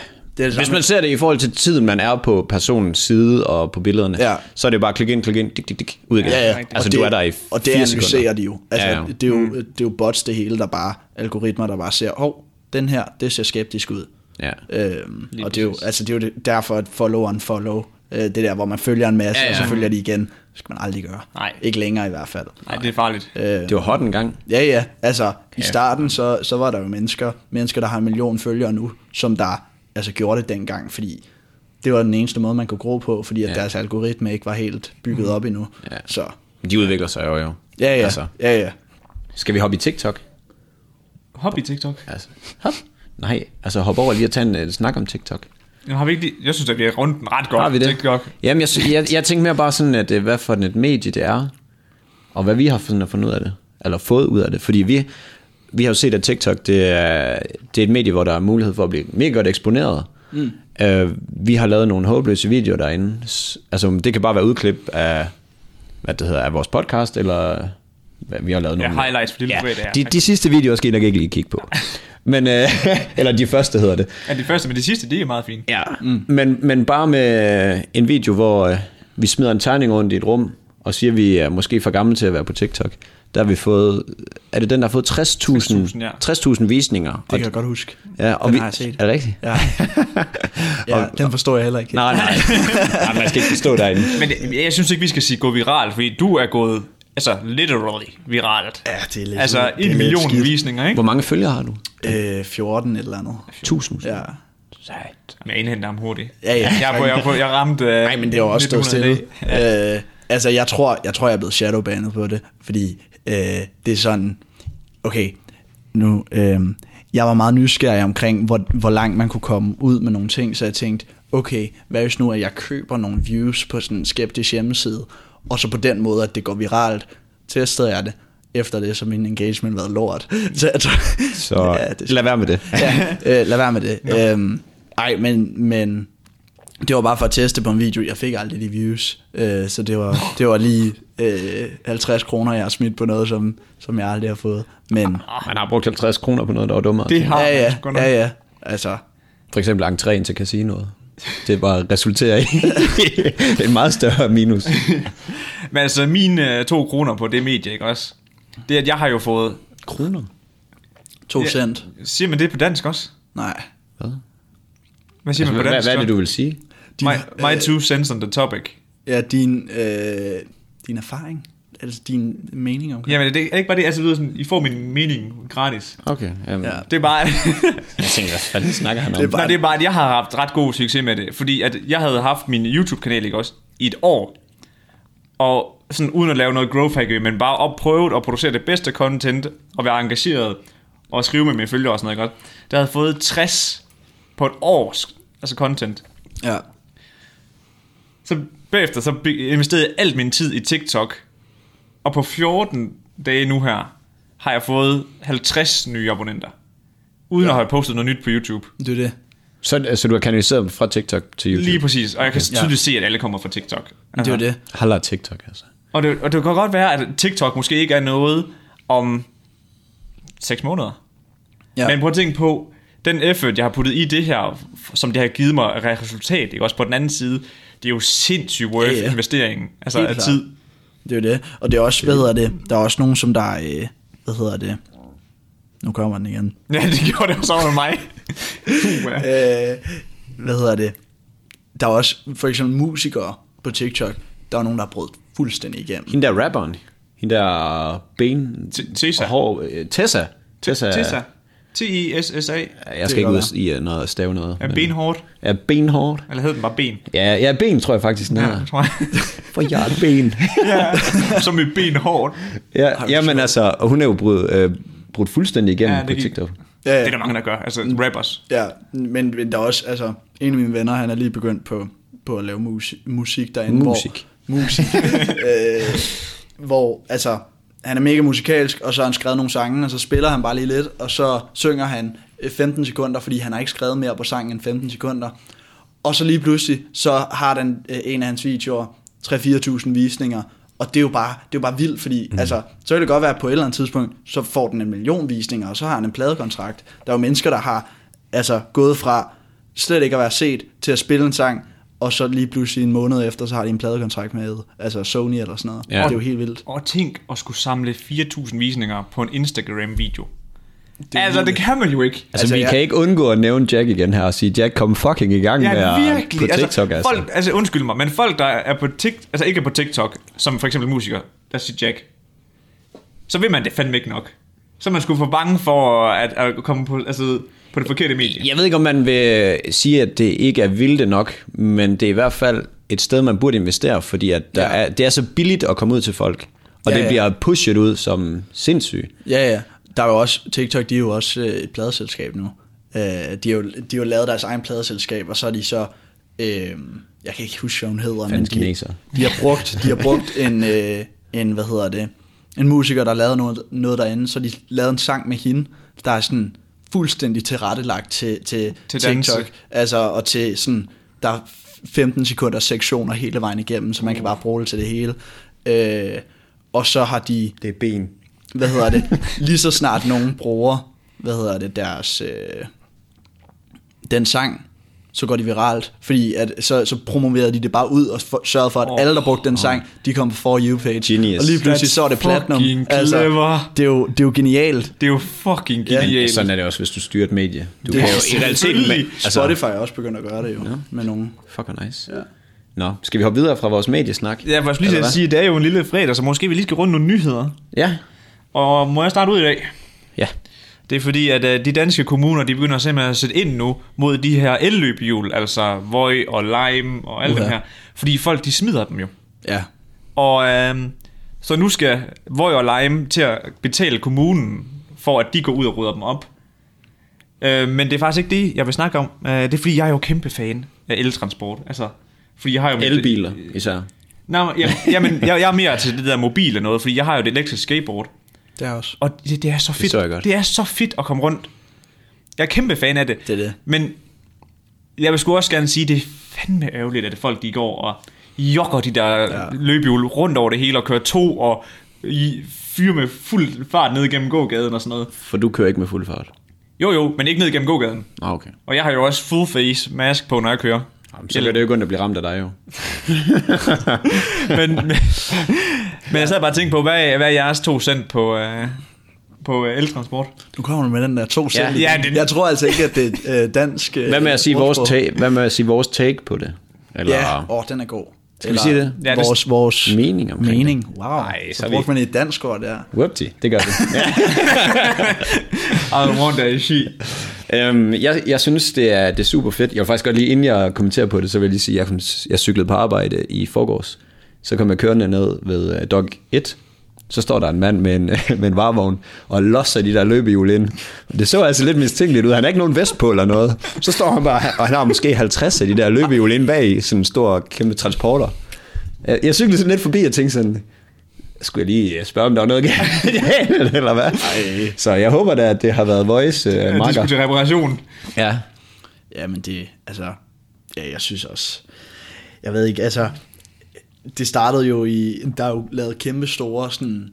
S1: Det det
S3: Det er det
S1: Hvis
S3: samme-
S1: man ser det i forhold til tiden, man er på personens side og på billederne,
S3: Ja.
S1: så er det jo bare klik ind, klik ind, dik, dik, dik, ud igen.
S3: Ja, ja.
S1: Altså,
S3: og
S1: du
S3: det,
S1: er der i
S3: Og det
S1: fire
S3: analyserer
S1: sekunder.
S3: de jo. Altså,
S1: Ja, ja.
S3: Det, er jo det er jo bots det hele, der bare, algoritmer, der bare ser, hov, oh, den her, det ser skeptisk ud.
S1: Ja.
S3: Øhm, og det er, jo, altså, det er jo det- derfor, at follow on follow, øh, det der, hvor man følger en masse,
S1: Ja,
S3: ja, ja. og så
S1: ja.
S3: følger de igen. Det skal man aldrig gøre.
S2: Nej.
S3: Ikke længere i hvert fald.
S2: Nej, det er farligt.
S3: Øh,
S1: Det var hot en gang.
S3: Ja, ja. Altså, i starten, så, så var der jo mennesker, mennesker, der har en million følgere nu, som der altså gjorde det dengang, fordi det var den eneste måde, man kunne gro på, fordi at ja.
S1: Ja.
S3: deres algoritme ikke var helt bygget op endnu.
S1: Ja.
S3: Så,
S1: De udvikler sig jo jo.
S3: ja, ja.
S1: Altså,
S3: ja, ja.
S1: skal vi hoppe i TikTok?
S2: Hop i TikTok.
S1: Altså, hop. Nej, altså hop over lige og tage en øh, snak om TikTok.
S2: Jamen, har vi ikke lige... Jeg synes, at vi har rundt den ret godt.
S1: Har vi det?
S2: TikTok.
S1: Jamen, jeg, sy- jeg, jeg tænkte mere bare sådan, at øh, hvad for et medie det er, og hvad vi har sådan, at fundet ud af det, eller fået ud af det. Fordi vi, vi har jo set, at TikTok, det er, det er et medie, hvor der er mulighed for at blive mega godt eksponeret. Mm. Øh, vi har lavet nogle håbløse videoer derinde. S- Altså, det kan bare være udklip af, hvad det hedder, af vores podcast, eller hvad, vi har lavet
S2: Ja,
S1: nogle...
S2: highlights for det, du ved, det er.
S1: de, de sidste videoer skal I nok ikke lige kigge på. Men, øh, eller de første hedder det.
S2: Ja, de første, men de sidste, de er meget fine.
S1: Ja, mm. men, men bare med øh, en video, hvor øh, vi smider en tegning rundt i et rum, og siger, at vi er måske for gamle til at være på TikTok. Der har vi fået, er det den, der har fået 60.000 60.000
S2: ja.
S1: 60 visninger?
S3: Det kan
S1: og,
S3: jeg godt huske.
S1: ja, og
S3: den
S1: vi,
S3: har jeg set.
S1: Er det rigtigt?
S3: Ja. ja, den forstår jeg heller ikke.
S1: Nej, nej. nej, man skal ikke stå derinde.
S2: Men jeg, jeg synes ikke, vi skal sige gå viral, fordi du er gået, altså literally viralt.
S3: Ja, det er lidt-
S2: Altså
S3: det er lidt
S2: en million
S3: skidt.
S2: visninger, ikke?
S1: Hvor mange følgere har du?
S3: Øh, 14 et eller andet.
S1: 1000.
S3: Ja.
S2: Sejt. Men jeg indhenter ham hurtigt.
S3: Ja, ja.
S2: Jeg, er på, jeg, er på, jeg ramte... øh,
S3: Nej, men det er jo også stået stille. Øh, altså, jeg tror, jeg tror, jeg er blevet shadowbandet på det, fordi øh, det er sådan, okay, nu, øh, jeg var meget nysgerrig omkring, hvor, hvor langt man kunne komme ud med nogle ting, så jeg tænkte, okay, hvad hvis nu, at jeg køber nogle views på sådan en skeptisk hjemmeside, og så på den måde, at det går viralt, testede jeg det, efter det, så min engagement været lort. Så jeg tror,
S1: Så ja,
S3: det
S1: lad være med det.
S3: ja, øh, lad være med det. Øhm, ej, men, men Det var bare for at teste på en video. Jeg fik aldrig de views, øh, så det var, det var lige øh, 50 kroner, jeg har smidt på noget, som, som jeg aldrig har fået. Men
S1: Man har brugt 50 kroner på noget, der var dummere.
S2: Det har
S3: ja,
S2: man
S3: ja,
S2: Ah, sgu nok.
S3: ja, ja. Altså,
S1: For eksempel entréen til casinoet. Det bare resulterer i en meget større minus.
S2: Men altså, mine øh, to kroner på det medie, ikke også? Det er, at jeg har jo fået...
S1: Kroner?
S3: to
S2: Ja.
S3: cent.
S2: Siger man det på dansk også?
S3: Nej.
S1: Hvad?
S2: Hvad siger
S1: Altså,
S2: altså, man
S1: hvad,
S2: på
S1: hvad
S2: dansk?
S1: er det, du vil sige?
S3: Din,
S2: My, my
S3: øh,
S2: two cents on the topic.
S3: Ja, din, øh, din erfaring. Altså din mening omkring.
S2: Jamen, det er ikke bare det, altså, det lyder sådan, I får min mening gratis.
S1: Okay, jamen.
S3: Ja.
S2: Det er bare...
S1: Jeg tænker, hvad fanden snakker han om?
S3: Det er bare-
S2: Nej, det er bare, at jeg har haft ret god succes med det. Fordi at jeg havde haft min YouTube-kanal, ikke også, i et år. Og sådan uden at lave noget growth hacking, men bare op prøvet at producere det bedste content, og være engageret, og skrive med mine følgere og sådan noget, ikke også. Der havde fået 60 på et års altså content.
S3: Ja.
S2: Så bagefter så be- investerede jeg alt min tid i TikTok. Og på 14 dage nu her, har jeg fået 50 nye abonnenter. Uden ja. at have postet noget nyt på YouTube.
S3: Det er det.
S1: Så, så du har kanaliseret dem fra TikTok til YouTube?
S2: Lige præcis. Og jeg kan
S3: Ja.
S2: tydeligt se, at alle kommer fra TikTok.
S3: Det er jo det.
S1: Haller TikTok, altså.
S2: Og det, og det kan godt være, at TikTok måske ikke er noget om 6 måneder.
S3: Ja.
S2: Ja. Men prøv at tænke på, den effort, jeg har puttet i det her, f- som det har givet mig af resultat, ikke? også på den anden side, det er jo sindssygt worth
S3: Ja, ja.
S2: yeah. investeringen. Altså
S3: Helt
S2: af
S3: klart.
S2: tid.
S3: Det er jo det. Og det er også, hvad hedder det, der er også nogen, som der, øh, hvad hedder det, nu kommer den igen.
S2: Ja, det gjorde det jo så med mig. Puh, ja.
S3: Øh, hvad hedder det, der er også for eksempel musikere på TikTok, der er nogen, der har brudt fuldstændig igennem.
S1: Hende der rapperen. Hende der ben...
S2: T- Tessa.
S1: og Hår, øh, Tessa. Tessa.
S2: Tessa. T-I-S-S-A.
S1: Jeg skal
S3: Det
S1: ikke
S3: kan
S1: ud i øh, noget at stave noget.
S2: Er
S1: men-
S2: benhårdt.
S1: Er benhårdt.
S2: Eller hed den bare ben?
S1: Ja, ja, ben tror jeg faktisk, den
S2: Ja,
S1: her.
S2: tror jeg.
S1: For jeg er ben.
S2: ja. Som i benhårdt.
S1: ja, jamen altså, og hun er jo brudt, øh, brudt fuldstændig igennem
S2: Ja,
S1: ja,
S2: det
S1: på
S2: gik-
S1: TikTok.
S3: Ja,
S2: Det er der mange, der gør. Altså rappers.
S3: Ja, men men der er også, altså, en af mine venner, han er lige begyndt på, på at lave musik, musik derinde.
S1: Musik.
S3: Hvor, musik. øh, hvor, altså, han er mega musikalsk, og så har han skrevet nogle sange, og så spiller han bare lige lidt, og så synger han øh, 15 sekunder, fordi han har ikke skrevet mere på sangen end 15 sekunder. Og så lige pludselig, så har den øh, en af hans videoer 3-4.000 visninger, og det er jo bare, det er jo bare vildt, fordi mm. altså, så kan det godt være, at på et eller andet tidspunkt, så får den en million visninger, og så har han en pladekontrakt. Der er jo mennesker, der har altså, gået fra slet ikke at være set til at spille en sang, og så lige pludselig en måned efter, så har de en pladekontrakt med altså Sony eller sådan noget. Ja.
S1: Ja.
S3: Det er jo helt vildt.
S2: Og tænk at skulle samle 4.000 visninger på en Instagram-video. Det altså, det kan man jo ikke.
S1: Altså,
S3: Altså,
S1: altså vi
S3: jeg-
S1: jeg... kan ikke undgå at nævne Jack igen her og sige, Jack kom fucking i gang med
S2: Ja,
S1: at-
S2: virkelig.
S1: på TikTok, altså.
S2: Folk, altså, undskyld mig, men folk, der er på TikTok, altså ikke er på TikTok, som for eksempel musikere, der siger Jack, så vil man det fandme ikke nok. Så er man skulle for bange for at, at komme på, altså, på det forkerte medie.
S1: Jeg ved ikke, om man vil sige, at det ikke er vildt nok, men det er i hvert fald et sted, man burde investere, fordi at der
S3: Ja.
S1: ja. er, det er så billigt at komme ud til folk, og
S3: Ja,
S1: ja, det
S3: ja.
S1: bliver pushet ud som sindssygt.
S3: Ja, ja. Der er jo også, TikTok, de er jo også øh, et pladeselskab nu. Øh, de, har jo, de har jo lavet deres egen pladeselskab, og så er de så, øh, jeg kan ikke huske, hvad hun hedder, men de,
S1: kineser.
S3: de, har brugt, de har brugt en, øh, en, hvad hedder det, en musiker, der lavede noget, noget derinde, så de lavede en sang med hende, der er sådan fuldstændig tilrettelagt til, til,
S2: Til danse.
S3: TikTok. Altså, og til sådan, der er 15 sekunder sektioner hele vejen igennem, så man kan bare bruge det til det hele. Øh, og så har de
S1: Det er ben.
S3: hvad hedder det, lige så snart nogen bruger, hvad hedder det, deres, øh, den sang, så går de viralt, fordi at, så, så promoverede de det bare ud og for, sørgede for, at
S2: Åh.
S3: oh, alle, der brugte den sang, de kom på For You page.
S1: Genius.
S3: Og lige pludselig
S2: That's
S3: så er det platinum. Altså,
S2: fucking clever.
S3: det, er jo, det er jo genialt.
S2: Det er jo fucking
S3: Ja,
S2: genialt.
S1: Sådan er det også, hvis du styrer et medie. Du
S3: Det
S1: det
S3: er
S1: kan jo i
S2: selvfølgelig-
S1: realiteten... Med,
S3: Altså, Spotify er også begyndt at gøre det jo, ja. med nogen.
S1: Fucker nice. Ja. Nå, skal vi hoppe videre fra vores mediesnak?
S2: Ja, for jeg
S1: Eller
S2: skulle lige til at
S1: hvad?
S2: sige, at det er jo en lille fredag, så måske vi lige skal runde nogle nyheder.
S1: Ja.
S2: Og må jeg starte ud i dag?
S1: Ja.
S2: Det er fordi, at øh, de danske kommuner, de begynder simpelthen at sætte ind nu mod de her elløbehjul, altså Voi og Lime og alt
S3: Uha.
S2: dem her. Fordi folk, de smider dem jo.
S3: Ja.
S2: Og øh, så nu skal Voi og Lime til at betale kommunen, for at de går ud og rydder dem op. Øh, men det er faktisk ikke det, jeg vil snakke om. Øh, det er fordi, jeg er jo kæmpe fan af eltransport. Altså, fordi jeg har jo mit-
S1: Elbiler især.
S2: Nej, jamen, jamen jeg, jeg er mere til det der mobil og noget, fordi jeg har jo et elektrisk skateboard.
S3: Det er også.
S2: Og det, det er så fedt.
S1: så jeg godt.
S2: det er så fedt at komme rundt. Jeg er kæmpe fan af det.
S3: Det er det.
S2: Men jeg vil sgu også gerne sige, det er fandme ærgerligt, at folk de går og jokker de der ja. løbehjul rundt over det hele og kører to og i fyre med fuld fart ned gennem gågaden og sådan noget.
S1: For du kører ikke med fuld fart.
S2: Jo jo, men ikke ned gennem gågaden.
S1: Ah, okay.
S2: Og jeg har jo også full face mask på, når jeg kører.
S1: Jamen, så kan det jo ikke ondt at blive ramt af dig jo.
S2: men, men, men jeg sad bare og tænkte på, hvad, hvad er jeres to cent på, øh, på øh, eltransport?
S3: Nu kommer du med den der to selv.
S2: ja,
S3: igen.
S2: det-
S3: Jeg tror altså ikke, at det er øh, dansk... øh,
S1: Hvad med at sige vores
S3: ordsprog.
S1: take, hvad med at sige vores take på det? Eller
S3: Ja, åh, den er god. Skal
S1: vi sige det?
S2: Ja, det-
S3: vores, vores
S1: Mening omkring
S3: mening. Wow,
S2: Nej, så
S3: så
S2: er
S3: brugte man et dansk ord der.
S1: Whoopty, det gør vi.
S2: I want a she.
S1: Øhm, jeg, jeg synes, det er, det er super fedt. Jeg vil faktisk godt lige, inden jeg kommenterer på det, så vil jeg lige sige, at jeg, kom- jeg cyklede på arbejde i forgårs. Så kom jeg kørende ned ved uh, Dog 1. Så står der en mand med en, med en varevogn og losser de der løbehjul ind. Det så altså lidt mistænkeligt ud. Han har ikke nogen vest på eller noget. Så står han bare, og han har måske 50 af de der løbehjul inde bag i sådan en stor, kæmpe transporter. Jeg, jeg cyklede sådan lidt forbi og tænkte sådan, skulle jeg lige øh, spørge, om der var noget galt, eller hvad? Ej. Så jeg håber da, at det har været voice uh,
S2: De
S1: marker.
S2: skulle til reparation.
S1: Ja.
S3: Ja, men det, altså, ja, jeg synes også, jeg ved ikke, altså, det startede jo i, der er jo lavet kæmpe store sådan,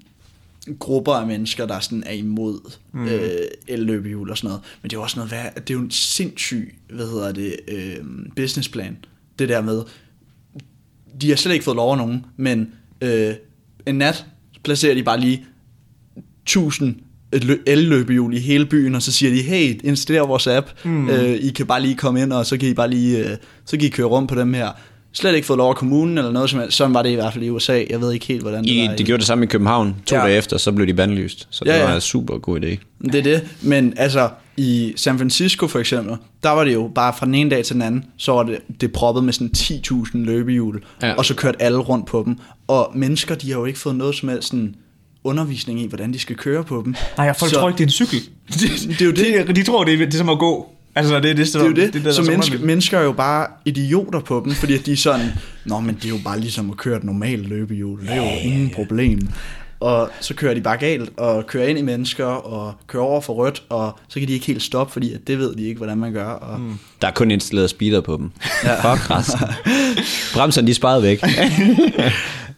S3: grupper af mennesker, der sådan er imod mm. øh, elløbehjul og sådan noget, men det er jo også noget værd, det er jo en sindssyg, hvad hedder det, øh, businessplan, det der med, de har slet ikke fået lov af nogen, men øh, en nat placerer de bare lige 1000 lø- elløbehjul i hele byen, og så siger de, hey, installer vores app, mm. øh, I kan bare lige komme ind, og så kan I bare lige, øh, så kan I køre rundt på dem her. Slet ikke fået lov af kommunen eller noget som helst. Sådan var det i hvert fald i USA. Jeg ved ikke helt, hvordan det
S1: I,
S3: var.
S1: de gjorde det samme i København. To
S3: Ja.
S1: ja. dage efter, så blev de bandlyst. Så
S3: Ja,
S1: det
S3: ja.
S1: var en super god idé.
S3: Det er det. Men altså, i San Francisco for eksempel, der var det jo bare fra den ene dag til den anden, så var det, det proppet med sådan 10.000 løbehjul, ja.
S1: Ja.
S3: og så kørte alle rundt på dem. Og mennesker, de har jo ikke fået noget som helst sådan undervisning i, hvordan de skal køre på dem.
S2: Nej, jeg folk
S3: så,
S2: tror ikke, det er en cykel.
S3: Det er jo det.
S2: De, de tror, det er, det er som at gå. Altså, det, er det,
S3: Det er jo det.
S2: det,
S3: det
S2: der er
S3: så menneske,
S2: underligt.
S3: mennesker er jo bare idioter på dem, fordi at de er sådan, nå, men det er jo bare ligesom at køre et normalt løbehjul, det er jo ingen problem. Og så kører de bare galt, og kører ind i mennesker, og kører over for rødt, og så kan de ikke helt stoppe, fordi at det ved de ikke, hvordan man gør. Og mm.
S1: Der er kun installeret speeder på dem. Ja. Fuck resten. Bremserne, de sparede væk.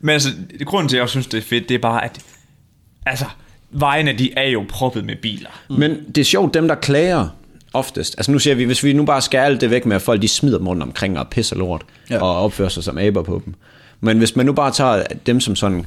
S2: Men altså, det- grunden til, at jeg synes, det er fedt, det er bare, at altså, vejene, de er jo proppet med biler.
S1: Men det er sjovt, dem der klager oftest. Altså nu siger vi, hvis vi nu bare skærer alt det væk med, at folk de smider dem rundt omkring og pisser lort,
S3: Ja.
S1: ja. og opfører sig som aber på dem. Men hvis man nu bare tager dem som sådan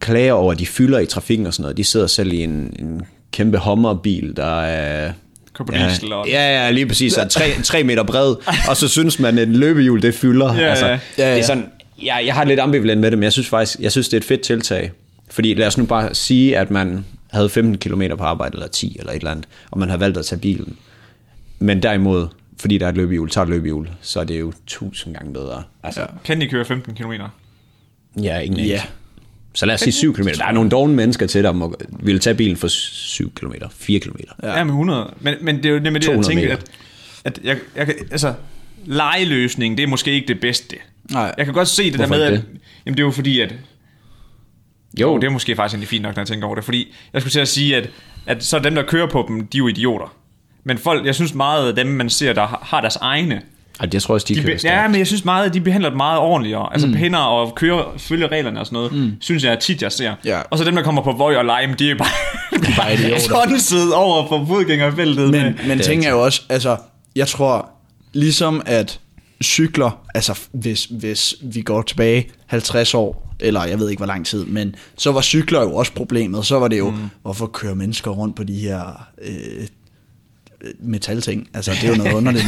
S1: klager over, at de fylder i trafikken og sådan noget, de sidder selv i en, en kæmpe hommerbil, der er...
S2: Køber diesel
S1: ja,
S2: og-
S1: ja, ja, lige præcis. Er tre, tre meter bred, og så synes man, at et løbehjul, det fylder. Altså,
S2: Ja, ja.
S1: Det
S3: Ja, ja.
S1: er sådan, jeg, jeg har lidt ambivalent med det, men jeg synes faktisk, jeg synes, det er et fedt tiltag. Fordi lad os nu bare sige, at man havde 15 km på arbejde, eller 10 eller et eller andet, og man har valgt at tage bilen. Men derimod, fordi der er et løbehjul, tager et løbehjul, så er det jo tusind gange bedre. Altså, ja.
S2: Kan de køre 15 km?
S1: ja, ingen
S3: Ja.
S1: ja. Så lad os sige 7 km. Der er nogle dogne mennesker til, der må, ville tage bilen for 7 km, 4 km. Ja.
S2: Ja, med 100. Men, men det er jo nemlig det, jeg
S1: 200
S2: tænker,
S1: meter.
S2: at, at jeg, jeg, kan- altså, legeløsning, det er måske ikke det bedste.
S3: Nej.
S2: Jeg kan godt se det
S1: Hvorfor
S2: der med,
S1: ikke
S2: at, jamen det er jo fordi, at Jo,
S1: Jo,
S2: det er måske faktisk egentlig fint nok, når jeg tænker over det, fordi jeg skulle til at sige, at, at så dem, der kører på dem, de er jo idioter. Men folk, jeg synes meget af dem, man ser, der har har deres egne.
S1: og det tror jeg også, de,
S2: De
S1: de
S2: be-
S1: kan
S2: ja, men jeg synes meget, at de behandler det meget ordentligere. Altså mm. pænder og kører, følger reglerne og sådan noget, mm. synes jeg tit, jeg ser.
S3: Ja.
S2: Og så dem, der kommer på Vøj og Lime, de er bare,
S3: Bare idioter.
S2: bare tonset over for fodgængerfeltet. med-
S3: Men, men ting er jo også, altså, jeg tror, ligesom at cykler, altså hvis, hvis vi går tilbage 50 år, eller jeg ved ikke hvor lang tid, men så var cykler jo også problemet. Så var det jo, mm. hvorfor kører mennesker rundt på de her øh, metalting? Altså, det er jo noget underligt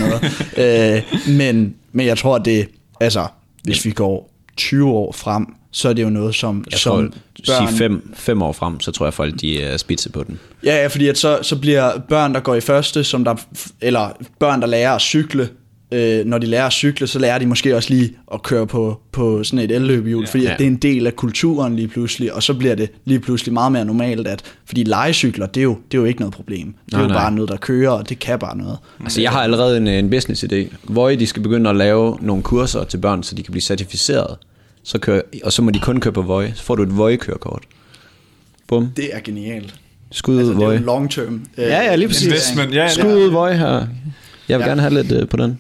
S3: noget. Øh, men, men jeg tror, at det, altså, hvis vi går 20 år frem, så er det jo noget, som,
S1: Jeg
S3: som
S1: tror, sige fem, fem år frem, så tror jeg, folk de er spidse på den.
S3: Ja, ja, fordi at så, så bliver børn, der går i første, som der, eller børn, der lærer at cykle, øh, når de lærer at cykle, så lærer de måske også lige at køre på, på sådan et elløbehjul, ja, fordi at
S1: Ja.
S3: det er en del af kulturen lige pludselig, og så bliver det lige pludselig meget mere normalt, at, fordi legecykler, det er jo, det er jo ikke noget problem. Det er
S1: Nej,
S3: jo
S1: nej.
S3: bare noget, der kører, og det kan bare noget.
S1: Altså, jeg har allerede en, øh, en business idé. Hvor de skal begynde at lave nogle kurser til børn, så de kan blive certificeret. Så kører, og så må de kun køre på Voi. Så får du et Voi-kørekort. Bum.
S3: Det er genialt.
S1: Skud
S3: Altså,
S1: altså,
S3: det
S1: Voi.
S3: er jo long term. Øh,
S1: Ja, ja, lige præcis.
S2: Investment, ja, ja.
S1: Skud ud Voi her. Jeg vil
S3: Ja.
S1: ja. gerne have lidt øh, på den.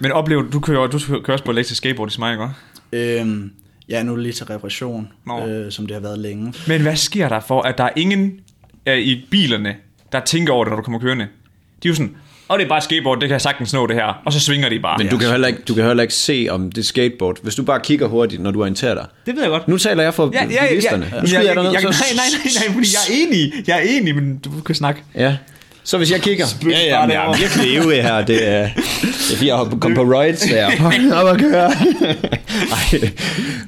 S2: Men oplever du, du kører, du kører også på elektrisk skateboard, det mig, ikke også?
S3: Øhm, ja, nu er det lige til reparation,
S2: Nå.
S3: øh, som det har været længe.
S2: Men hvad sker der for, at der er ingen øh, i bilerne, der tænker over det, når du kommer kørende? De er jo sådan, og det er bare et skateboard, det kan jeg sagtens nå det her. Og så svinger de bare.
S1: Men du kan, jo heller ikke, du kan heller ikke se om det skateboard, hvis du bare kigger hurtigt, når du orienterer dig.
S2: Det ved jeg godt.
S1: Nu taler jeg for ja, bilisterne.
S2: Ja, ja,
S1: Nu
S2: jeg,
S1: skyder
S2: jeg,
S1: jeg dig ned.
S2: jeg,
S1: så-
S2: nej, nej, nej, nej, fordi jeg er enig. Jeg er enig, men du kan snakke.
S1: Ja. Så hvis jeg kigger... Ja, ja, men jeg er
S2: derovre.
S1: virkelig ivrig her. Det er, det er fordi, jeg har kommet på rides, så jeg er fucking op at køre. Ej.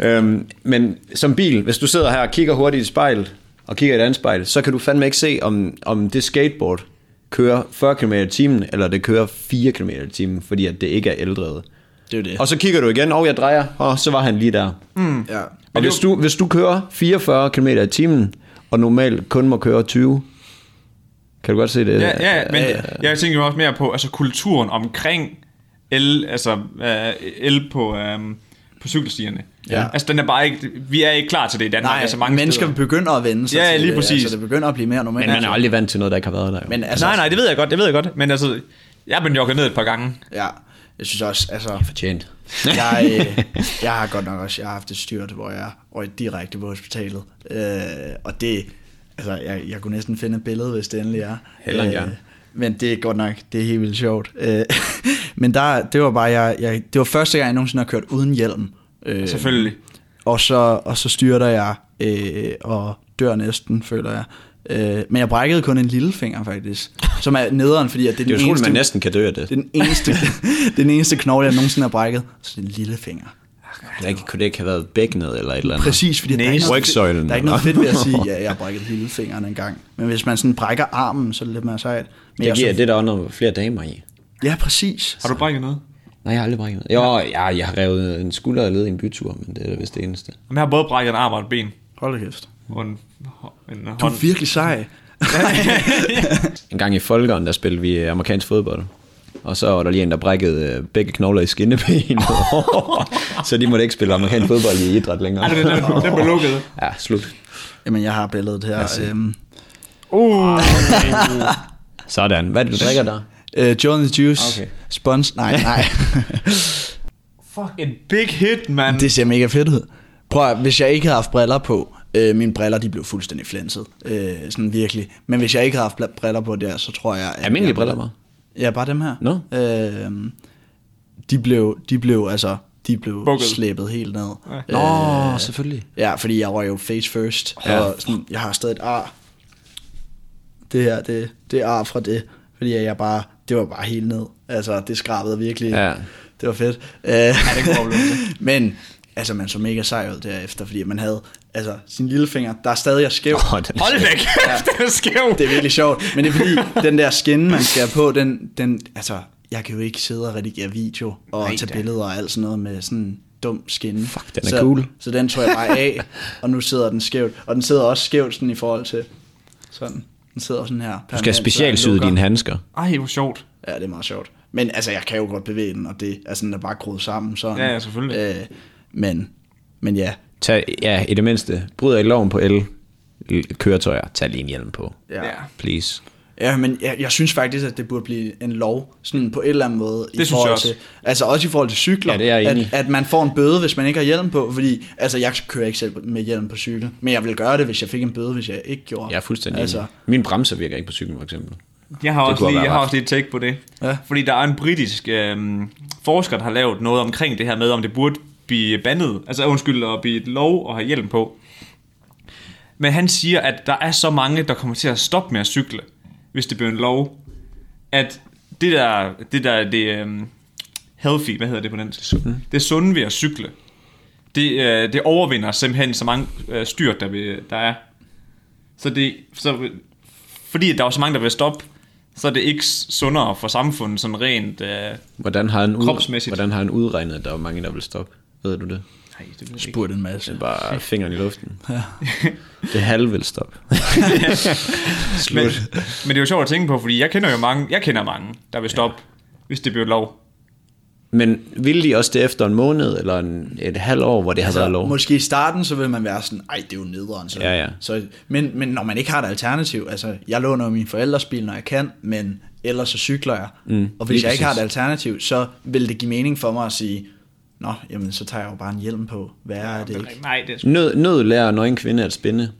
S1: øhm, men som bil, hvis du sidder her og kigger hurtigt i et spejl, og kigger i et andet spejl, så kan du fandme ikke se, om, om det skateboard kører 40 km i timen, eller det kører 4 km i timen, fordi at det ikke er eldrevet.
S3: Det er jo det.
S1: Og så kigger du igen, og oh, jeg drejer, og så var han lige der.
S2: Mm.
S3: ja.
S1: Og hvis du, hvis du kører 44 km i timen, og normalt kun må køre 20, kan du godt se det?
S2: Ja, ja, ja, men jeg tænker jo også mere på altså, kulturen omkring el, altså, øh, el på, øh, på cykelstierne.
S3: Ja.
S2: Altså, den er bare ikke, vi er ikke klar til det i Danmark.
S3: Nej,
S2: altså, mange
S3: mennesker
S2: steder.
S3: begynder at vende sig
S2: Ja,
S3: til
S2: lige
S3: det,
S2: præcis.
S3: Altså, det begynder at blive mere normalt.
S1: Men man er aldrig vant til noget, der ikke har været der. Jo.
S3: Men
S2: Altså,
S3: altså,
S2: nej, nej, det ved jeg godt, det ved jeg godt. Men altså, jeg er blevet jogget ned et par gange.
S3: Ja, jeg synes også, altså...
S1: fortjent.
S3: jeg, øh, jeg har godt nok også jeg har haft et styrt, hvor jeg røg direkte på hospitalet. Øh, og det, altså, jeg, jeg kunne næsten finde et billede, hvis det endelig er. Øh,
S1: Hellere end gerne.
S3: men det er godt nok, det er helt vildt sjovt. Øh, men der, det var bare, jeg, jeg, det var første gang, jeg nogensinde har kørt uden hjelm. Øh,
S2: Selvfølgelig.
S3: Og så, og så styrter jeg, øh, og dør næsten, føler jeg. Øh, men jeg brækkede kun en lillefinger, faktisk. Som er nederen, fordi at det er
S1: Det er
S3: den
S1: utroligt,
S3: eneste...
S1: man næsten kan dø af det.
S3: Det er den eneste, det er den eneste knogle, jeg nogensinde har brækket. Så den lille finger.
S1: det ikke, kunne det ikke have været bækkenet eller et eller andet?
S3: Præcis, fordi der, er ikke noget,
S1: Rygsøjlen,
S3: fedt- der er ikke noget
S1: eller?
S3: fedt ved at sige, ja, jeg har brækket hele fingeren en gang. Men hvis man sådan brækker armen, så er det lidt mere sejt. Men
S1: Det
S3: jeg
S1: giver
S3: så,
S1: det der under flere damer i.
S3: Ja, præcis.
S2: Har du brækket noget?
S1: Nej, jeg har aldrig brækket noget. Jo, jeg, jeg har revet en skulder og led i en bytur, men det er da vist det eneste.
S2: Jamen, Jeg har både brækket en arm og et ben.
S3: Hold da kæft.
S2: Og en, en
S3: Du
S2: hånd.
S3: er virkelig sej.
S1: En gang i Folkeren, der spillede vi øh, amerikansk fodbold. Og så var der lige en, der brækkede øh, begge knogler i skinnebenet. så de måtte ikke spille amerikansk fodbold i idræt længere.
S2: Ej, den, den, den blev lukket.
S1: Ja, slut.
S3: Jamen, jeg har billedet her. Øhm,
S2: Uh.
S1: Sådan. Hvad er det, du drikker der?
S3: øh, Jones Juice.
S1: Okay.
S3: Okay. Spons. Nej, nej.
S2: Fuck, en big hit, mand.
S3: det ser mega fedt ud. Prøv at, hvis jeg ikke havde haft briller på, øh, mine briller de blev fuldstændig flænset. Øh, sådan virkelig. Men hvis jeg ikke havde haft bla- briller på der, så tror jeg... At
S1: Almindelige
S3: jeg-
S1: briller, var.
S3: Ja, bare dem her.
S1: Nå.
S3: Øh, de blev, de blev altså, de blev
S2: Bukket.
S3: Bukket. slæbet helt ned. Øh, Ja.
S1: Nå, selvfølgelig.
S3: ja, fordi jeg røg jo face first,
S1: Ja.
S3: ja. og sådan, jeg har stadig et ar. Det her, det, det er ar fra det, fordi jeg bare, det var bare helt ned. Altså, det skrabede virkelig.
S1: Ja.
S3: Det var fedt. Øh, ja, det kunne Men, altså, man så mega sej ud derefter, fordi man havde, altså, sin lillefinger, der er stadig jeg skæv.
S1: Åh, den er
S2: Hold da kæft, den er skæv.
S3: Det er virkelig sjovt, men det er fordi, den der skinne, man skal have på, den, den, altså, jeg kan jo ikke sidde og redigere video og
S1: Nej,
S3: tage
S1: da.
S3: billeder og alt sådan noget med sådan en dum skinne. Fuck,
S1: den er
S3: så,
S1: cool.
S3: Så den tog jeg bare af, og nu sidder den skævt, og den sidder også skævt sådan i forhold til sådan. Den sidder sådan her.
S1: Du skal specialsyde dine handsker.
S2: Ej, hvor sjovt.
S3: Ja, det er meget sjovt. Men altså, jeg kan jo godt bevæge den, og det er sådan, der bare groet sammen sådan.
S2: Ja, ja, selvfølgelig.
S3: Øh, men, men ja,
S1: Tag, ja, i det mindste. Bryder I loven på el køretøjer, tag lige en hjelm på.
S3: Ja.
S2: Ja.
S1: Please.
S3: Ja, men jeg, jeg synes faktisk, at det burde blive en lov, sådan på en eller anden måde. i
S2: synes jeg
S3: forhold
S2: også.
S3: Til, altså også i forhold til cykler,
S1: Ja, det er jeg enig i.
S3: at, at man får en bøde, hvis man ikke har hjelm på, fordi altså, jeg kører ikke selv med hjelm på cykel, men jeg ville gøre det, hvis jeg fik en bøde, hvis jeg ikke gjorde.
S1: Jeg er fuldstændig altså.
S3: altså,
S1: Min bremser virker ikke på cyklen, for eksempel.
S2: Jeg har,
S1: Det
S2: også
S1: kunne
S2: lige,
S1: være
S2: jeg har
S1: ret.
S2: også lige tænkt på det.
S3: Ja.
S2: Fordi der er en britisk øh, forsker, der har lavet noget omkring det her med, om det burde blive bandet. Altså undskyld, at blive et lov og have hjelm på. Men han siger, at der er så mange, der kommer til at stoppe med at cykle, hvis det bliver en lov. At det der, det der, det øh, healthy, hvad hedder det på dansk? Det sunde ved at cykle, det, øh, det overvinder simpelthen så mange øh, styrt, der, vil, der er. Så det, så fordi der var så mange, der ville stoppe, så er det ikke sundere for samfundet, sådan rent... Øh, nej,
S1: Hvordan har han, ud,
S2: Kropsmæssigt.
S1: hvordan har han udregnet, at der var mange, der vil stoppe? Ved du det?
S2: det ved jeg ikke.
S3: spurgte en masse.
S1: Det er bare fingeren i luften. det halve vil stoppe.
S2: Men, men det er jo sjovt at tænke på, fordi jeg kender jo mange, jeg kender mange, der vil stoppe, ja. hvis det bliver lov.
S1: Men ville de også det efter en måned, eller en, et halvt år, hvor det har altså, været
S3: Så,
S1: lov?
S3: måske i starten, så vil man være sådan, ej, det er jo nederen. Så,
S1: Ja, ja.
S3: Så, men, men når man ikke har et alternativ, altså, jeg låner jo mine forældres bil, når jeg kan, men eller så cykler jeg.
S1: Mm,
S3: og hvis
S1: lige
S3: jeg ikke har et
S1: præcis.
S3: alternativ, så vil det give mening for mig at sige, nå, jamen så tager jeg jo bare en hjelm på. Hvad er det ikke?
S2: Nej, det er sgu...
S1: Nød, nød lærer nøgen kvinde at spinde.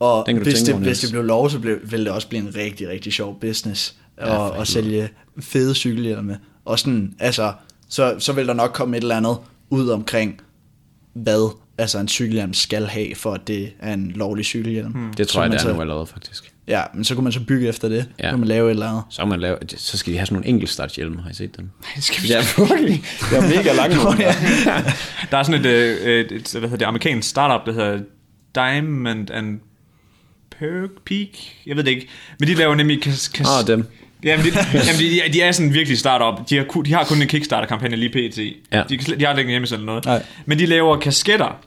S3: Og
S1: Den kan du
S3: hvis
S1: tænke
S3: det,
S1: over,
S3: hvis
S1: Niels.
S3: det blev lov, så blev, ville det også blive en rigtig, rigtig sjov business ja, at, at sælge fede cykelhjelme. Og sådan, altså, så, så vil der nok komme et eller andet ud omkring, hvad altså en cykelhjelm skal have, for at det er en lovlig cykelhjelm. Hmm.
S1: Det tror jeg,
S3: man
S1: det er
S3: så,
S1: nu allerede, faktisk.
S3: Ja, men så kunne man så bygge efter det.
S1: Ja.
S3: Ja. Så kunne man lave et eller andet.
S1: Så, kan man lave, så skal de have sådan nogle enkeltstartshjelme, har I set dem?
S2: Nej, det skal vi...
S1: Ja, fucking. Det er mega langt.
S2: Der er sådan et, øh, et, et, hvad hedder det, amerikansk startup, der hedder Diamond and Perk Peak? Jeg ved det ikke. Men de laver nemlig... Kas, kas,
S1: Ah, dem.
S2: Jamen, de, jamen de, de, de, er sådan virkelig startup. De har, ku- de har kun en Kickstarter-kampagne lige pt.
S1: Ja.
S2: De, kan slet- de har ikke en hjemmeside eller noget.
S3: Nej.
S2: Men de laver kasketter,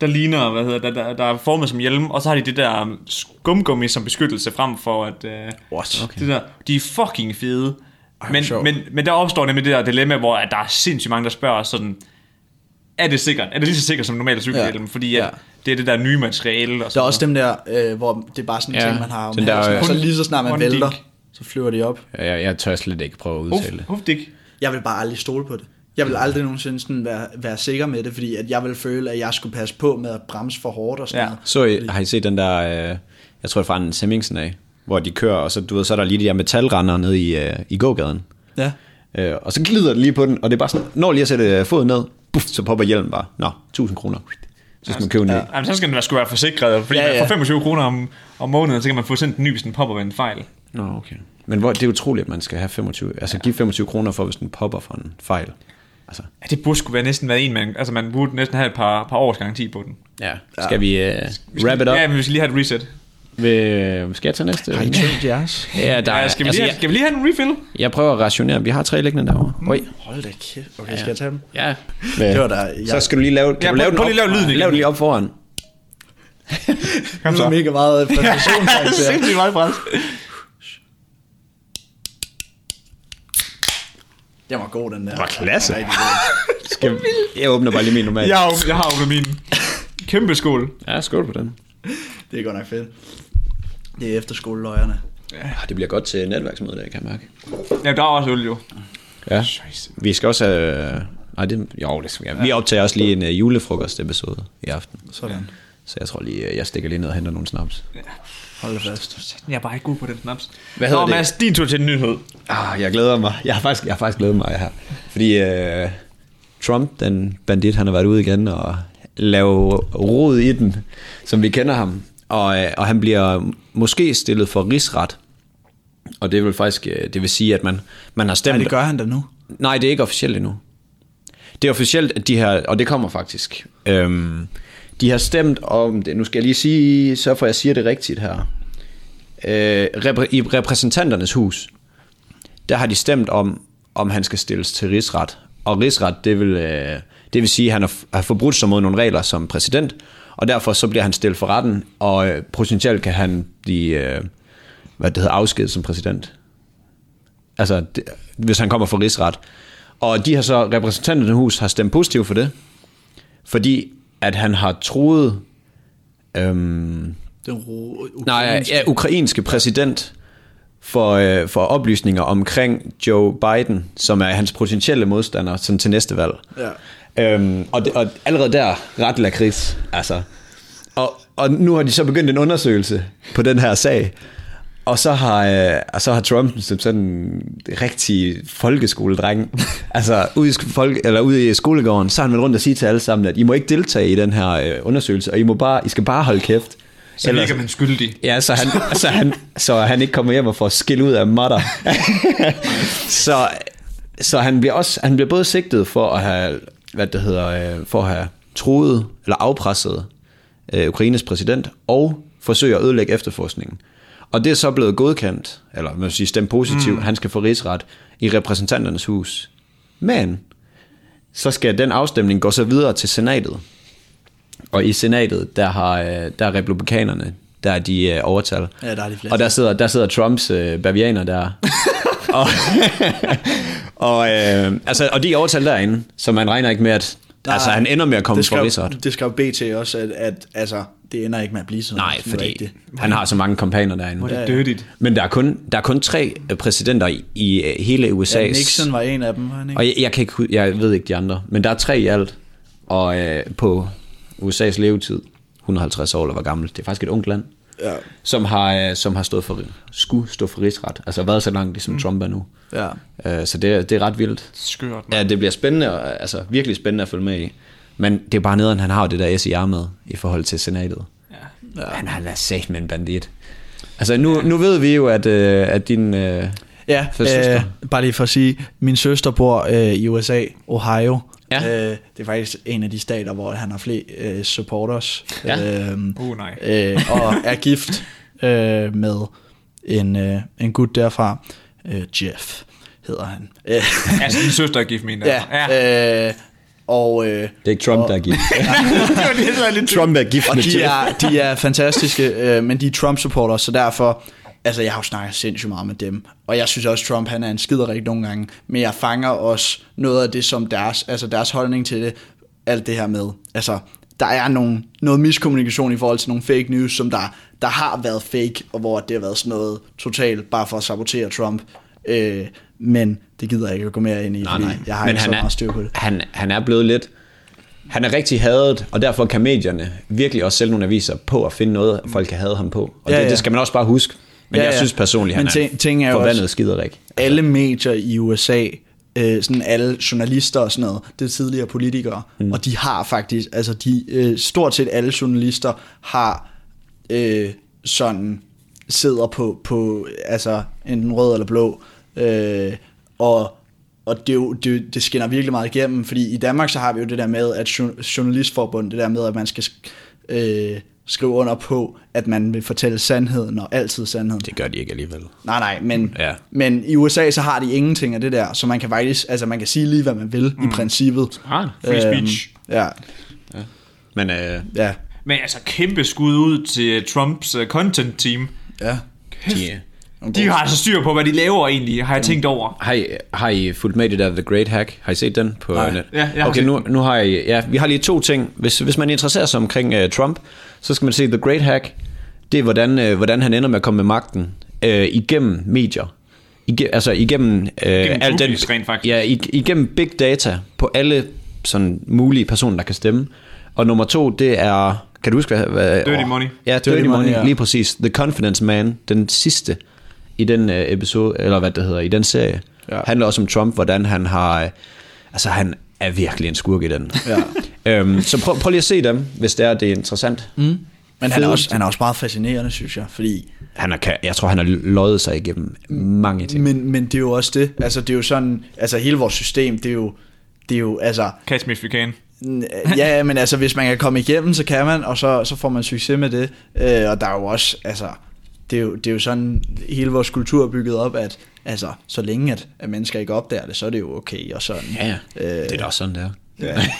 S2: der ligner, hvad hedder det, der, der er formet som hjelm, og så har de det der skumgummi som beskyttelse frem for at... Øh,
S3: What?
S2: det der, de er fucking fede. Men,
S3: sjovt.
S2: men, men der opstår nemlig det der dilemma, hvor at der er sindssygt mange, der spørger os sådan, er det sikkert? Er det lige så sikkert som normale cykelhjelm?
S3: Ja.
S2: Ja. Fordi at
S3: Ja.
S2: det er det der nye materiale. Og
S3: Der
S2: sådan
S3: er også dem der, øh, hvor det er bare sådan en
S1: Ja,
S3: ting, man har om
S1: den der,
S3: halsen, og
S1: øh,
S3: så lige så snart man
S2: One
S3: vælter,
S2: dick.
S3: så flyver de op.
S1: Jeg, jeg tør slet ikke prøve at
S2: noget.
S1: udtale det.
S2: Uf, uf, dik.
S3: Jeg vil bare aldrig stole på det. Jeg vil aldrig nogensinde sådan være, være sikker med det, fordi at jeg vil føle, at jeg skulle passe på med at bremse for hårdt og sådan
S2: Ja.
S3: ja. noget.
S1: Så I, har I set den der, øh, jeg tror det er fra en Semmingsen af, hvor de kører, og så, du ved, så er der lige de der metalrender nede i, øh, i gågaden.
S3: Ja.
S1: Øh, og så glider det lige på den, og det er bare sådan, når lige at sætte øh, foden ned, puff, så popper hjelmen bare. Nå, 1000 kroner. Så skal man købe en ny. Ja.
S2: Jamen, så skal man sgu være forsikret, fordi
S3: Ja,
S2: ja, ja.
S3: ja.
S2: for 25 kroner om, om måneden, så kan man få sendt en ny, hvis den popper ved en fejl.
S1: Nå, okay. Men hvor, det er utroligt, at man skal have 25, altså give 25 kroner for, hvis den popper fra en fejl. Altså,
S2: Ja, det burde sgu være næsten være en, man, altså man burde næsten have et par, par års garanti på den.
S1: ja. Skal vi øh, wrap it
S2: Ja,
S1: up?
S2: men vi skal lige have et reset.
S1: Ved, skal jeg tage næste?
S3: Har I tømt jeres?
S1: Ja, der,
S2: Ja,
S1: er-
S2: skal,
S1: altså,
S2: vi lige Mm. have,
S1: jeg,
S2: skal vi lige have en refill?
S1: jeg prøver at rationere. Vi har tre liggende derovre. Oj.
S3: Hold da kæft. Okay, skal jeg tage dem?
S1: Ja.
S3: Det var da... Jeg,
S1: Så skal du lige lave, kan
S2: Ja,
S1: du
S2: prøv-
S1: lave den
S2: prøv lige
S1: op,
S2: at lave lyden igen.
S1: lav den lige op foran.
S2: Kom
S3: det var mega meget præstation, faktisk.
S2: Sindssygt meget pres.
S3: Jeg var god, den der.
S1: var klasse.
S3: Den var rigtig god.
S1: Skal, jeg åbner bare lige min normal.
S2: Jeg har, jo- jeg har jo min kæmpe skål.
S1: ja skål på den.
S3: Det er godt nok fedt. Det er efterskoleløjerne.
S1: Ah, Det bliver godt til netværksmøde, der kan jeg mærke.
S2: Ja, der er også øl jo.
S1: Ja.
S2: Nice.
S1: Vi skal også have... øh, Nej, det, jo, det skal vi. Ja. Vi optager også lige en uh, julefrokostepisode i aften.
S3: Sådan.
S1: Så jeg tror lige, øh, jeg stikker lige ned og henter nogle snaps.
S3: Hold da fast.
S2: Jeg er bare ikke god på den snaps.
S1: Hvad hedder
S2: Nå,
S1: det?
S2: Mads, din tur til en nyhed.
S1: Ah, jeg glæder mig. Jeg har faktisk, jeg har faktisk glædet mig her. Fordi uh, Trump, den bandit, han har været ude igen og lave rod i den, som vi kender ham. Og, øh, og han bliver måske stillet for rigsret. Og det vil faktisk, øh, det vil sige, at man, man har stemt...
S3: Ja, det gør han da nu.
S1: Nej, det er ikke officielt endnu. Det er officielt, at de her, og det kommer faktisk, øhm, de har stemt om det. Nu skal jeg lige sige, så for jeg siger det rigtigt her. Øh, repr- I repræsentanternes hus, der har de stemt om, om han skal stilles til rigsret. Og rigsret, det vil, øh, det vil sige, at han har, har forbrudt sig mod nogle regler som præsident, og derfor så bliver han stillet for retten, og øh, potentielt kan han blive, øh, hvad det hedder, afskedet som præsident altså, det, hvis han kommer fra rigsret. Og de har så, repræsentanterne hus har stemt positivt for det, fordi at han har troet, øhm,
S3: Den ro...
S1: nej, ja, ukrainske præsident for, øh, for oplysninger omkring Joe Biden, som er hans potentielle modstander sådan til næste valg.
S3: Ja.
S1: Øhm, og, det, og allerede der, ret lakrids, altså. Og, og nu har de så begyndt en undersøgelse på den her sag, og så har, øh, og så har Trump som sådan en rigtig folkeskoledreng, altså ude i, sk- folk, eller ude i skolegården, så har han været rundt og sige til alle sammen, at I må ikke deltage i den her øh, undersøgelse, og I, må bare, I skal bare holde kæft.
S2: Så Ellers... virker man skyldig.
S1: Ja, så han, så han, så han ikke kommer hjem og får skæld ud af matter. så så han, bliver også, han bliver både sigtet for at have, hvad det hedder, øh, for at have truet eller afpresset øh, Ukraines præsident, og forsøger at ødelægge efterforskningen. Og det er så blevet godkendt, eller man vil sige stemt positivt, mm. han skal få rigsret i repræsentanternes hus. Men så skal den afstemning gå så videre til senatet. Og i senatet, der har øh, der er republikanerne, der er de øh, overtal.
S3: Ja, der er de flertal.
S1: og der sidder, der sidder Trumps øh, bavianer der. og, og, øh, altså, og de er overtal derinde, så man regner ikke med, at
S3: Der-
S1: altså, han ender med at komme
S3: det
S1: fra
S3: skrev,
S1: Rigsret.
S3: Det skrev BT også, at, at altså, det ender ikke med at blive sådan.
S1: Nej,
S3: sådan
S1: fordi
S3: rigtigt.
S1: han har så mange kompaner derinde.
S2: Det er dirtigt.
S1: Men der er kun, der er kun tre øh, præsidenter i, i øh, hele USA.
S3: Ja, Nixon var en af dem, var han ikke?
S1: Og jeg, jeg, kan ikke, hu- jeg ved ikke de andre, men der er tre i alt, og øh, på USA's levetid, 150 år eller hvor gammel, det er faktisk et ungt land,
S3: Ja.
S1: som har, øh, som har stået for, skulle stå for rigsret, altså har været så langt, ligesom mm. Trump er nu.
S3: Ja.
S1: Øh, så det, er- det er ret vildt.
S2: Skørt,
S1: Ja, det bliver spændende, og, altså virkelig spændende at følge med i. Men det er bare nederen, han har jo det der SIR med i forhold til senatet. Ja. Han, han er sat med en bandit. Altså nu, nu ved vi jo, at, øh, at din... Øh,
S3: Ja,
S1: For søster.
S3: øh, bare lige for at sige, min søster bor øh, i USA, Ohio.
S1: Ja.
S3: Øh, det er faktisk en af de stater, hvor han har flere øh, supporters.
S1: Ja.
S3: Øhm,
S2: Uh, nej.
S3: Øh, og er gift øh, med en, øh, en gut derfra, øh, Jeff hedder han. Øh,
S2: Altså, din søster er gift med en
S3: ja, ja. Øh, og, øh,
S1: det er ikke Trump,
S3: og,
S1: der er gift.
S2: det var det, der er lidt
S1: Trump er gift
S3: Og
S1: med
S3: de
S1: Jeff.
S3: er, de er fantastiske, øh, men de er Trump-supporters, så derfor... Altså, jeg har jo snakket sindssygt meget med dem, og jeg synes også, Trump han er en skiderik nogle gange, men jeg fanger også noget af det som deres, altså deres holdning til det, alt det her med. Altså, der er nogle, noget miskommunikation i forhold til nogle fake news, som der, der har været fake, og hvor det har været sådan noget totalt bare for at sabotere Trump. Øh, men det gider jeg ikke at gå mere ind i, nej, fordi nej. jeg har ikke så
S1: er,
S3: meget styr på det.
S1: Han, han er blevet lidt... Han er rigtig hadet, og derfor kan medierne virkelig også sælge nogle aviser på at finde noget, folk kan hade ham på. Og
S3: Ja,
S1: ja, det,
S3: ja.
S1: det skal man også bare huske. Men
S3: Ja,
S1: ja, jeg
S3: ja.
S1: synes personligt,
S3: Men
S1: han er
S3: ting- ting er jo
S1: forbandet
S3: også-
S1: skiderik.
S3: alle medier i USA, øh, sådan alle journalister og sådan noget, det er tidligere politikere, mm. og de har faktisk, altså de, øh, stort set alle journalister har øh, sådan, sidder på, på altså enten rød eller blå, øh, og og det, er jo, det, er jo- det skinner virkelig meget igennem, fordi i Danmark så har vi jo det der med, at jo- journalistforbund, det der med, at man skal sk- øh, skrive under på, at man vil fortælle sandheden, og altid sandheden.
S1: Det gør de ikke alligevel.
S3: Nej, nej, men,
S1: Ja.
S3: ja. men i USA så har de ingenting af det der, så man kan faktisk, altså man kan sige lige, hvad man vil mm. i princippet.
S2: Smart. Free speech.
S3: Øhm, ja,
S1: Men øh,
S3: ja,
S2: Men altså, kæmpe skud ud til Trumps øh, content-team.
S3: ja.
S1: de,
S2: De har altså styr på, hvad de laver egentlig, har jeg tænkt over.
S1: har, I, har I fulgt med i det der The Great Hack? Har I set den på
S3: Nej.
S1: net?
S2: Ja, jeg har
S1: okay,
S2: set
S1: nu, nu har I, ja, vi har lige to ting. Hvis, hvis man interesserer sig omkring uh, Trump, så skal man se The Great Hack. Det er, hvordan, uh, hvordan han ender med at komme med magten uh, igennem medier. Ige, altså igennem, uh, al den,
S2: cookies, rent faktisk.
S1: ja, ig, igennem big data på alle sådan, mulige personer, der kan stemme. Og nummer to, det er... Kan du huske, hvad... hvad
S2: Dirty
S1: åh,
S2: Money.
S1: Ja, Dirty, Dirty
S3: Dirty
S1: Money,
S3: Money,
S1: ja.
S3: ja.
S1: lige præcis. The Confidence Man, den sidste i den øh, episode, eller hvad det hedder, i den serie, ja.
S3: Ja.
S1: handler også om Trump, hvordan han har, øh, altså han er virkelig en skurk i den. Ja. øhm, så prøv, prøv lige at se dem, hvis det er, det er interessant. Mm.
S3: Men han er,
S1: Fed.
S3: også, han er også meget fascinerende, synes jeg, fordi,
S1: Han er, kan- jeg tror, han har løjet sig igennem mange ting.
S3: men, men det er jo også det, altså det er jo sådan, altså hele vores system, det er jo, det er jo, altså,
S2: Catch me if you can.
S3: n- ja, men altså hvis man kan komme igennem, så kan man, og så, så får man succes med det, øh, og der er jo også, altså, det er jo, det er jo sådan, hele vores kultur er bygget op, at altså, så længe at, at mennesker ikke opdager det, så er det jo okay, og sådan.
S1: Ja, ja. Øh, det er da også sådan, det er.
S3: Ja.
S1: Nej,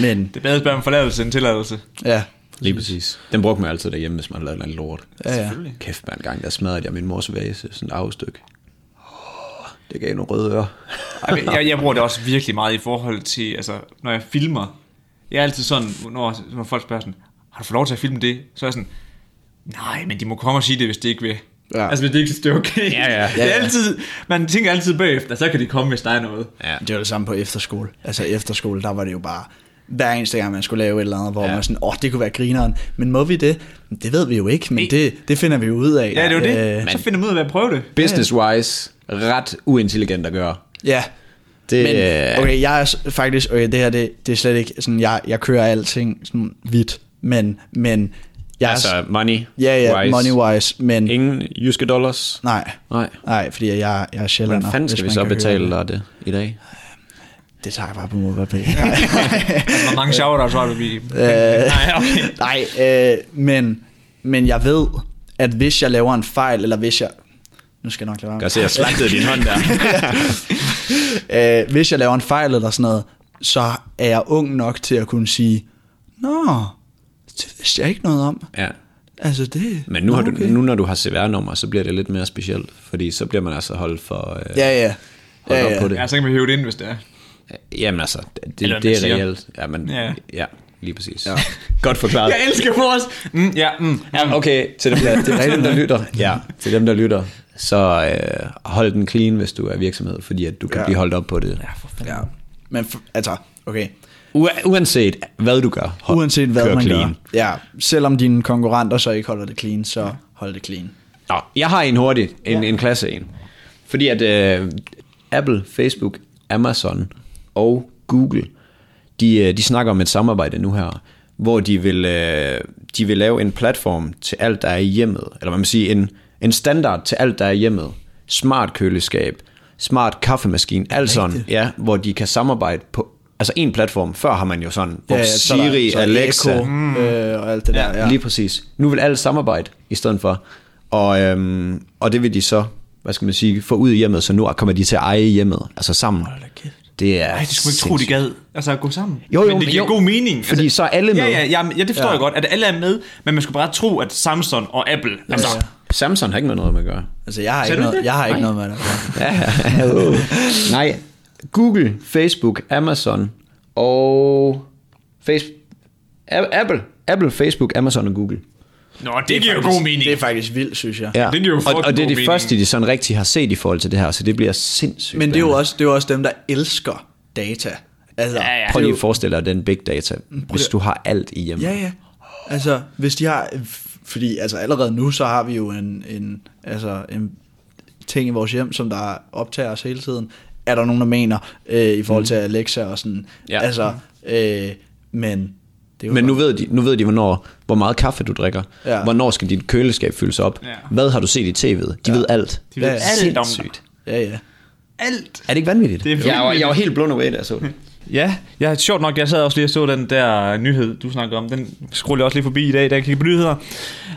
S3: Men
S2: Det er bedre at spørge om forladelse end tilladelse.
S3: ja,
S1: lige præcis. Den brugte man altid derhjemme, hvis man lavede noget lort.
S3: ja, ja.
S2: Selvfølgelig.
S1: Kæft, man, en gang der smadrede jeg min mors vase, sådan et afstykke. Åh, Det gav nogle røde ører.
S2: Ej, men Jeg, jeg bruger det også virkelig meget i forhold til, altså, når jeg filmer. Jeg er altid sådan, når, når folk spørger sådan, har du fået lov til at filme det? Så er jeg sådan, nej, men de må komme og sige det, hvis de ikke vil. Ja.
S3: Ja.
S2: Altså, hvis de ikke synes, det er okay. Ja, ja. Det er
S3: ja.
S2: altid, man tænker altid bagefter, så kan de komme, hvis der er noget.
S1: Ja.
S3: Det var det samme på efterskole. Altså efterskole, der var det jo bare hver eneste gang, man skulle lave et eller andet, hvor
S1: Ja.
S3: ja. man var sådan, åh, oh, det kunne være grineren, men må vi det? Det ved vi jo ikke, men det, det finder vi jo ud af.
S2: Ja, det er jo
S3: Øh,
S2: det. Så finder man ud af, hvad jeg prøver det.
S1: Business-wise, ret uintelligent at gøre.
S3: ja.
S1: Det,
S3: Men, okay, jeg er s- faktisk, okay, det her, det, det er slet ikke, sådan, jeg, jeg kører alting sådan vidt, men, men, jeg er s-
S1: Altså money
S3: ja, ja,
S1: wise.
S3: money-wise, men,
S1: Ingen jyske dollars.
S3: nej,
S1: Nej.
S3: nej, fordi jeg, jeg er sjældent.
S1: Hvordan fanden skal vi så betale dig det i dag?
S3: Det tager jeg bare på MobilePay. Nej.
S2: Altså, Hvor mange shoutouts var du vi?
S1: Øh.
S2: Nej, okay.
S3: Nej, øh, men, men jeg ved, at hvis jeg laver en fejl, eller hvis jeg... Nu skal jeg nok lade være
S1: Gør se, jeg slagtede din hånd der.
S3: med. Øh, hvis jeg laver en fejl eller sådan noget, så er jeg ung nok til at kunne sige, Nå, det vidste jeg ikke noget om.
S1: Ja.
S3: Altså det...
S1: Men nu, har du,
S3: okay."
S1: nu når du har CVR-nummer, så bliver det lidt mere specielt, fordi så bliver man altså holdt for... Øh,
S3: Ja, ja.
S1: holdt
S3: ja,
S1: op
S3: ja.
S1: på det.
S2: Ja, så kan vi hæve det ind, hvis det er.
S1: Jamen altså, det,
S2: Eller
S1: det
S2: man siger.
S1: er reelt. Ja, men,
S2: Ja.
S1: ja. Lige præcis. Ja. Godt forklaret.
S2: Jeg elsker vores. Mm, ja, mm, ja, mm.
S1: Okay, til dem, der, det er dem, der lytter. Ja, til dem, der lytter. Så øh, hold den clean, hvis du er virksomhed, fordi at du kan ja.
S3: Ja.
S1: blive holdt op på det.
S3: Ja. Men f- altså, okay.
S1: U- uanset hvad du gør, hold,
S3: Uanset hvad
S1: kør
S3: man
S1: clean.
S3: gør. Ja, selvom dine konkurrenter så ikke holder det clean, så hold det clean.
S1: Nå, jeg har en hurtigt, en, ja. en klasse en. Fordi at øh, Apple, Facebook, Amazon og Google, de, øh, de snakker om et samarbejde nu her, hvor de vil, øh, de vil lave en platform til alt, der er i hjemmet. Eller hvad man siger, en, en standard til alt, der er i hjemmet. Smart køleskab, smart kaffemaskine, alt sådan, ja, hvor de kan samarbejde på altså en platform. Før har man jo sådan, hvor ja,
S3: så er der-
S1: Siri,
S3: så er der
S1: Alexa,
S3: Echo,
S2: Mm.
S3: øh, og alt det der.
S1: Ja. Lige præcis. Nu vil alle samarbejde i stedet for. Og, øhm, og det vil de så, hvad skal man sige, få ud i hjemmet, så nu kommer de til at eje hjemmet, altså sammen. Det er
S2: Ej, det skulle man ikke tro, de gad. Altså at gå sammen.
S1: Jo, jo,
S2: men det
S1: men
S2: giver
S1: jo.
S2: god mening.
S1: Fordi
S2: altså,
S1: så er alle
S2: Ja,
S1: med.
S2: ja, ja, men- ja det forstår ja. jeg godt, at alle er med, men man skulle bare tro, at Samsung og Apple, ja, altså, ja.
S1: Samsung har ikke noget med at gøre.
S3: Altså, jeg har
S2: Sagde
S3: ikke,
S2: du
S3: noget,
S2: det?
S3: jeg har ikke noget med det.
S1: Åh. Nej. Google, Facebook, Amazon og Facebook, Apple, Apple, Facebook, Amazon og Google.
S2: Nå, det, det giver jo god mening.
S3: Det er faktisk vildt, synes jeg.
S1: Ja.
S2: Det giver jo
S1: og,
S2: fucking
S1: og det er
S2: god
S1: de
S2: mening.
S1: første, de sådan rigtig har set i forhold til det her, så det bliver sindssygt.
S3: Men det er jo
S1: spændende.
S3: også, det er jo også dem, der elsker data. Altså,
S2: Ja, ja.
S1: Prøv
S3: det er
S1: lige
S3: jo-
S1: at forestille dig den big data, hvis du har alt i hjemmet.
S3: Ja, ja. Altså, hvis de har... Fordi altså, allerede nu, så har vi jo en, en, altså, en ting i vores hjem, som der optager os hele tiden. Er der nogen, der mener øh, i forhold til Alexa og sådan...
S1: Mhm. Ja.
S3: Altså, øh, men... Det er jo
S1: Men nu ved de, nu ved de hvornår, hvor meget kaffe du drikker. Ja.
S3: Ja.
S1: Hvornår skal dit køleskab fyldes op?
S2: Ja.
S1: Hvad har du set i tv'et? De ja. ved alt.
S2: De ved
S1: Det er
S2: alt om
S1: sindssygt.
S3: Ja, ja.
S2: Alt.
S1: Er det ikke vanvittigt?
S2: Det er
S1: jeg, var,
S2: vanvittigt.
S1: jeg var helt blund away, da jeg så det.
S2: Ja, jeg ja, sjovt nok, jeg sad også lige og så den der nyhed, du snakkede om. Den scroller jeg også lige forbi i dag, da jeg kiggede på nyheder.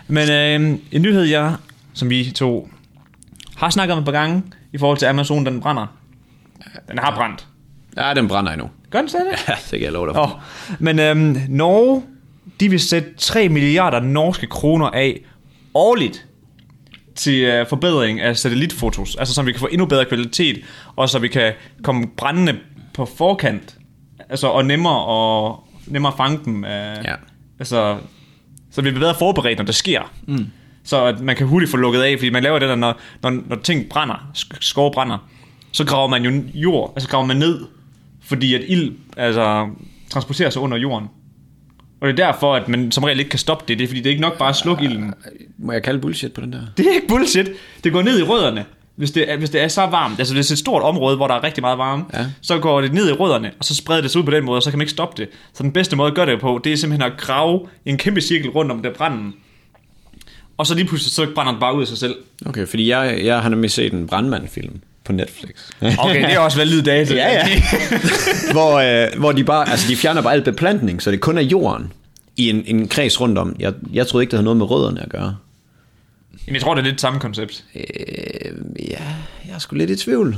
S2: Men øh, en nyhed, jeg, som vi to har snakket om et par gange, i forhold til Amazon, den brænder. Den har brændt.
S1: Ja, den brænder endnu.
S2: Gør den stadig?
S1: Ja, det kan jeg love dig.
S2: Oh. Men øhm, Norge, de vil sætte 3 milliarder norske kroner af årligt til øh, forbedring af satellitfotos. Altså så vi kan få endnu bedre kvalitet, og så vi kan komme brændende på forkant. Altså og nemmere, og, nemmere fange dem. Øh, ja. Altså, så vi bliver bedre forberedt, når det sker. Mm. Så at man kan hurtigt få lukket af, fordi man laver det der, når, når, når ting brænder, sk- skove brænder, så graver man jo jord, altså graver man ned, fordi at ild altså, transporterer sig under jorden. Og det er derfor, at man som regel ikke kan stoppe det, det er fordi, det er ikke nok bare at slukke ilden.
S1: Må jeg kalde bullshit på den der?
S2: Det er ikke bullshit. Det går ned i rødderne. Hvis det, er, hvis det er så varmt, altså hvis det er et stort område, hvor der er rigtig meget varme,
S1: Ja.
S2: ja. så går det ned i rødderne, og så spreder det sig ud på den måde, og så kan man ikke stoppe det. Så den bedste måde at gøre det på, det er simpelthen at grave en kæmpe cirkel rundt om der branden. Og så lige pludselig, så brænder den bare ud af sig selv.
S1: Okay, fordi jeg, jeg har nemlig set en brandmand-film på Netflix.
S2: Okay, det er også valid data.
S1: Ja, ja. hvor, øh, hvor de bare, altså de fjerner bare al beplantning, så det kun er jorden i en, en kreds rundt om. Jeg, jeg troede ikke, det havde noget med rødderne at gøre.
S2: Jamen, jeg tror, det er lidt samme koncept.
S1: Øh, ja, jeg er sgu lidt i tvivl.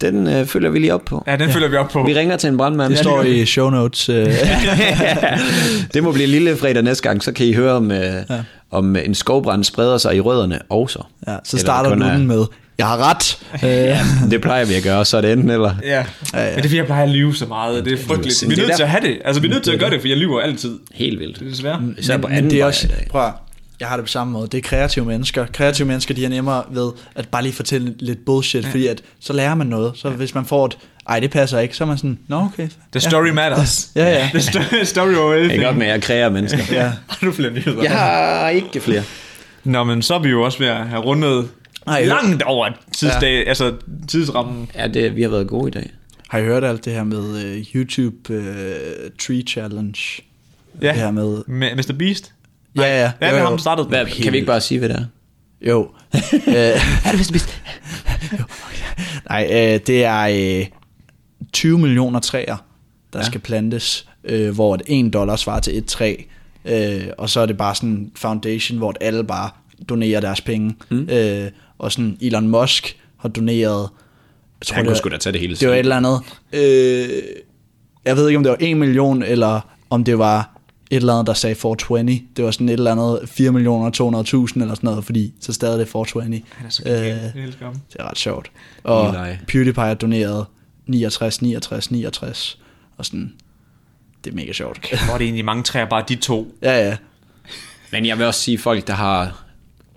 S1: Den øh, følger vi lige op på.
S2: Ja, den ja. følger vi op på.
S1: Vi ringer til en brandmand.
S3: Det står i show notes. Øh,
S1: det må blive lille fredag næste gang, så kan I høre om, øh, ja. om en skovbrand spreder sig i rødderne også.
S3: ja, så
S1: Eller
S3: starter
S1: kun
S3: du
S1: er-
S3: den med, jeg har ret. Øh,
S1: Det plejer vi at gøre, så er det enten eller.
S2: Ja. ja, ja. Men det er fordi, jeg plejer at lyve så meget. Det er frygteligt. Vi
S1: Det
S2: er
S1: er
S2: nødt til
S1: der-
S2: at have det. Altså, vi er nødt til at gøre det, for jeg lyver altid.
S1: Helt vildt.
S2: Det er desværre.
S1: Mm, Især på
S3: Men- men
S1: anden
S3: det er
S1: vej
S3: også,
S1: i dag.
S3: Prøv at, jeg har det på samme måde. Det er kreative mennesker. Kreative mennesker, de er nemmere ved at bare lige fortælle lidt bullshit, ja. fordi at, så lærer man noget. Så ja. hvis man får et, ej, det passer ikke, så er man sådan, nå okay.
S2: The story matters.
S3: Ja, ja.
S2: The sto- story over
S1: Det er
S2: everything.
S1: godt med, at jeg kræver mennesker.
S3: Ja.
S2: Har du flere nyheder?
S1: Jeg har ikke flere.
S2: Nå, men så er vi jo også ved at have rundet
S3: Ej,
S2: Ej,
S3: ja.
S2: langt over tidsdag, ja. altså tidsrammen.
S1: Ja, det, vi har været gode i dag.
S3: Har I hørt alt det her med uh, YouTube uh, Tree Challenge?
S2: Ja.
S3: Det her med...
S2: Med Mr. Beast.
S3: Ja, ja.
S2: Ja,
S3: jo,
S2: det har
S3: jo.
S2: ham startet.
S1: Hvad, kan vi ikke bare sige, hvad det er?
S3: Jo. er det vist Nej, øh, det er øh, 20 millioner træer, der ja. skal plantes, øh, hvor et 1 dollar svarer til et træ. Øh, og så er det bare sådan en foundation, hvor alle bare donerer deres penge. Mm. Øh, og sådan Elon Musk har doneret... Jeg tror,
S1: Han
S3: det
S1: kunne
S3: var-
S1: sgu da tage det hele
S3: Det var et eller andet. Øh, jeg ved ikke, om det var 1 million, eller om det var et eller andet, der sagde 420. Det var sådan et eller andet 4 millioner 200.000 eller sådan noget, fordi så stadig er det 420.
S2: Han er så
S3: Øh,
S2: genial. Jeg elsker ham.
S3: det er ret sjovt. Og
S1: Eli.
S3: PewDiePie har doneret 69, 69, 69. Og sådan, det er mega sjovt.
S2: Hvor er det egentlig mange træer, bare de to.
S3: Ja, ja.
S1: Men jeg vil også sige, at folk, der har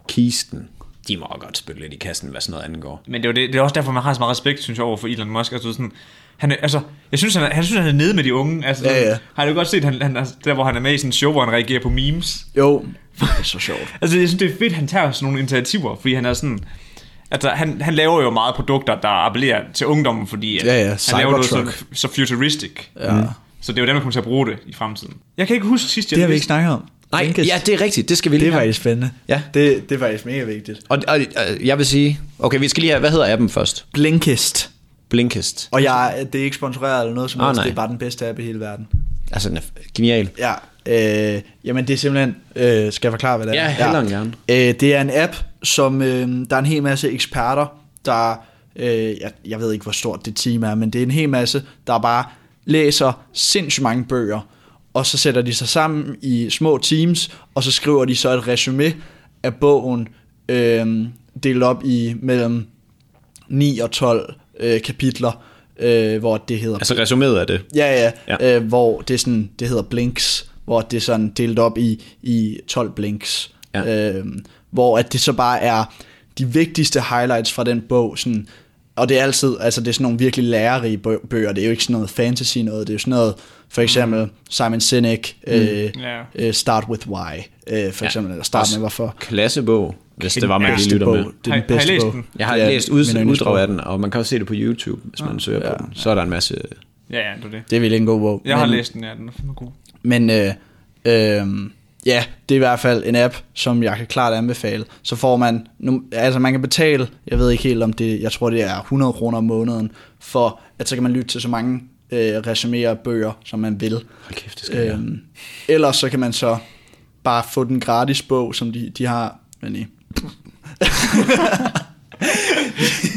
S1: kisten, de må også godt spille lidt i kassen, hvad sådan noget angår.
S2: Men det er, jo det, det er også derfor, man har så meget respekt, synes jeg, over for Elon Musk. Altså, sådan, han, er- altså, jeg synes, han, er- han, synes, han er nede med de unge. Altså,
S3: Ja, ja.
S2: Har du godt set, han, han, er- der hvor han er med i sådan en show, hvor han reagerer på memes?
S3: Jo, det er så sjovt.
S2: Altså, jeg synes, det er fedt, han tager sådan nogle initiativer, fordi han er sådan... Altså, han, han laver jo meget produkter, der appellerer til ungdommen, fordi at
S3: Ja, ja,
S2: han laver noget så,
S3: Cybertruck.
S2: så futuristic.
S3: Ja. Mm.
S2: Så det er jo dem, der kommer til at bruge det i fremtiden. Jeg kan ikke huske sidst, jeg
S4: Det har vi
S2: læste-
S4: ikke snakket om.
S1: Nej,
S4: Blinkist.
S1: ja, det er rigtigt. Det skal vi lige
S4: det er
S1: have.
S4: faktisk spændende.
S1: Ja,
S3: Det, det er faktisk mega vigtigt.
S1: og, og, og jeg vil sige... Okay, vi skal lige have... Hvad hedder appen først?
S3: Blinkist.
S1: Blinkist.
S3: Og jeg, det er ikke sponsoreret eller noget som
S1: Ah,
S3: helst,
S1: nej.
S3: det er bare den bedste app i hele verden.
S1: Altså, den er f- genial.
S3: Ja, øh, jamen det er simpelthen, øh, skal jeg forklare, hvad det er?
S1: Ja, hellere end gerne.
S3: Øh, det er en app, som øh, der er en hel masse eksperter, der, øh, jeg, jeg ved ikke, hvor stort det team er, men det er en hel masse, der bare læser sindssygt mange bøger, og så sætter de sig sammen i små teams, og så skriver de så et resume af bogen, øh, delt op i mellem 9 og 12 øh, kapitler, øh, hvor det hedder
S1: Altså, resumeret af det.
S3: Ja, ja,
S1: Ja.
S3: ja. Øh, hvor det, er sådan, det hedder blinks, hvor det er sådan delt op i, i 12 blinks,
S1: Ja.
S3: ja. øh, hvor at det så bare er de vigtigste highlights fra den bog, sådan, og det er altid, altså det er sådan nogle virkelig lærerige bø- bøger, det er jo ikke sådan noget fantasy noget, det er jo sådan noget, for eksempel mm. Simon Sinek, øh,
S2: Ja.
S3: øh, Start with Why, øh,
S1: Mm.
S3: for
S1: Ja.
S3: eksempel, eller Start
S1: Også
S3: med hvorfor.
S1: Klassebog, hvis det var, man
S3: Bedste
S1: lige lytter
S3: bog.
S1: med.
S3: Det
S2: Har-
S3: er
S2: har
S3: den bedste
S2: I læst
S3: bog.
S2: den?
S1: Jeg har
S3: Det er Ah.
S1: læst
S3: min
S1: ud, uddrag
S3: yndlingsbog.
S1: af den, og man kan også se det på YouTube, hvis man søger på den. Så er der en masse...
S2: Ja, ja, det er det.
S3: Det er virkelig en god bog.
S2: Jeg har
S3: men-
S2: læst den, ja, den er fandme god.
S3: Men øh, øh, ja, det er i hvert fald en app, som jeg kan klart anbefale. Så får man, nu, altså man kan betale, jeg ved ikke helt om det, jeg tror det er 100 kroner om måneden, for at så kan man lytte til så mange øh, resuméer og bøger, som man vil.
S1: Hold kæft, det skal jeg.
S3: Øhm, ellers så kan man så bare få den gratis bog, som de, de har. Men i,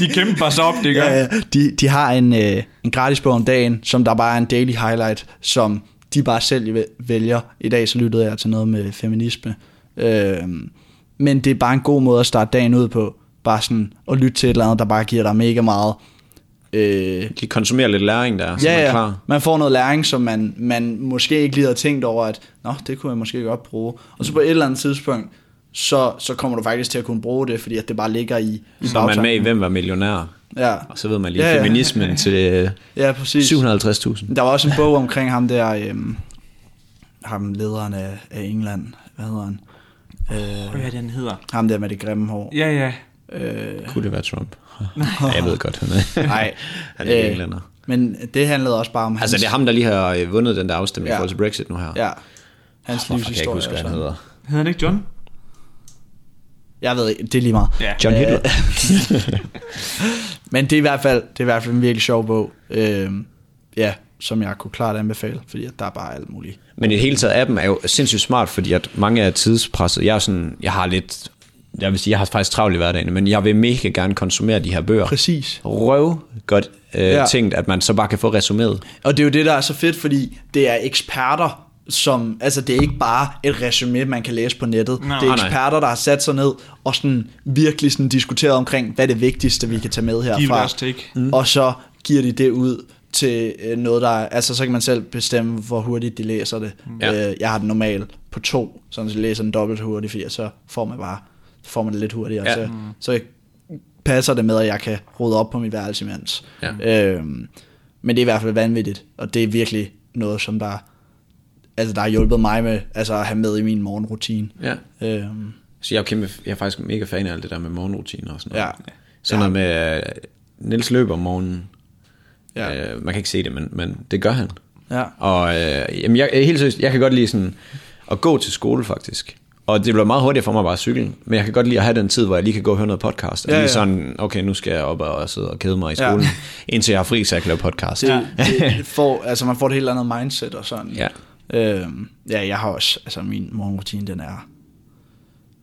S2: De kæmper sig op, det gør.
S3: ja, ja, de, de har en, øh, en gratis bog om dagen, som der bare er en daily highlight, som de bare selv væ- vælger. I dag så lyttede jeg til noget med feminisme. Øh, men det er bare en god måde at starte dagen ud på. Bare sådan at lytte til et eller andet, der bare giver dig mega meget. Øh,
S1: De konsumerer lidt læring der, så man
S3: ja,
S1: er
S3: ja.
S1: klar.
S3: Man får noget læring, som man, man måske ikke lige havde tænkt over, at Nå, det kunne jeg måske godt bruge. Og så på et eller andet tidspunkt, så, så kommer du faktisk til at kunne bruge det, fordi at det bare ligger i, i
S1: Så er man med i
S3: bagtanken.
S1: Hvem var millionær?
S3: Ja,
S1: Og så ved man lige ja,
S3: Ja,
S1: ja.
S3: ja.
S1: feminismen til øh,
S3: ja, præcis.
S1: 750.000.
S3: Der var også en bog omkring ham der, øhm, ham lederen af, af England, hvad hedder han? Øh,
S2: Hvad er det, den hedder?
S3: ham der med det grimme hår.
S2: Ja, ja.
S3: Øh,
S1: Kunne det være Trump? Ja, jeg ved godt, han er.
S3: nej,
S1: Han er ikke
S3: Øh,
S1: englænder.
S3: men det handlede også bare om hans,
S1: Altså, det er ham, der lige har øh, vundet den der afstemning ja.
S3: Ja.
S1: i forhold til Brexit nu her.
S3: ja, hans
S1: Hvorfor kan Ah, jeg ikke
S3: livshistorie.
S1: huske, hvad
S3: og
S1: han
S3: sådan.
S1: hedder?
S2: Hedder han ikke John?
S3: Jeg ved ikke, det er lige meget. Øh,
S2: Ja.
S1: John Hitler.
S3: Men det er i hvert fald, det er i hvert fald en virkelig sjov bog, øh, ja, som jeg kunne klart anbefale, fordi at der er bare alt muligt.
S1: Men i det hele taget, appen er jo sindssygt smart, fordi at mange er tidspresset. Jeg er sådan, jeg har lidt, jeg vil sige, jeg har faktisk travlt i hverdagen, men jeg vil mega gerne konsumere de her bøger.
S3: Præcis.
S1: Røv godt øh, ja.
S3: Ja.
S1: tænkt, at man så bare kan få resumeret.
S3: Og det er jo det, der er så fedt, fordi det er eksperter, som, altså det er ikke bare et resume, man kan læse på nettet.
S2: Nej,
S3: det er
S1: nej.
S3: eksperter, der har sat sig ned og sådan virkelig sådan diskuteret omkring, hvad er det vigtigste, vi kan tage med herfra.
S2: deres take.
S3: Mm. Og så giver de det ud til øh, noget, der er- altså så kan man selv bestemme, hvor hurtigt de læser det.
S1: Ja.
S3: Ja. Øh, jeg har den normalt på to, så jeg læser den dobbelt så hurtigt, fordi så får man bare, så får man det lidt hurtigere.
S1: Ja.
S3: Ja. Så, så passer det med, at jeg kan rode op på mit værelse imens.
S1: Ja.
S3: Øhm, men det er i hvert fald vanvittigt, og det er virkelig noget, som der, altså, der har hjulpet mig med altså, at have med i min morgenrutine.
S1: Ja.
S3: Øhm,
S1: Så jeg er, kæmpe, jeg er faktisk mega fan af alt det der med morgenrutiner og sådan noget.
S3: ja.
S1: Sådan noget med, øh, Niels løber om morgenen.
S3: Ja.
S1: Ja. Øh, man kan ikke se det, men, men det gør han.
S3: Ja.
S1: Og øh, jamen, jeg, helt seriøst, jeg kan godt lide sådan at gå til skole faktisk. Og det bliver meget hurtigere for mig bare at cykle. Men jeg kan godt lide at have den tid, hvor jeg lige kan gå og høre noget podcast. Og ja,
S3: Ja,
S1: lige
S3: ja.
S1: sådan, okay, nu skal jeg op og sidde og kede mig i
S3: Ja.
S1: skolen, ja. indtil jeg har fri, så jeg kan lave podcast.
S3: Det, det, det får, altså, man får et helt andet mindset og sådan.
S1: Ja.
S3: Øhm, ja, jeg har også, altså min morgenrutine, den er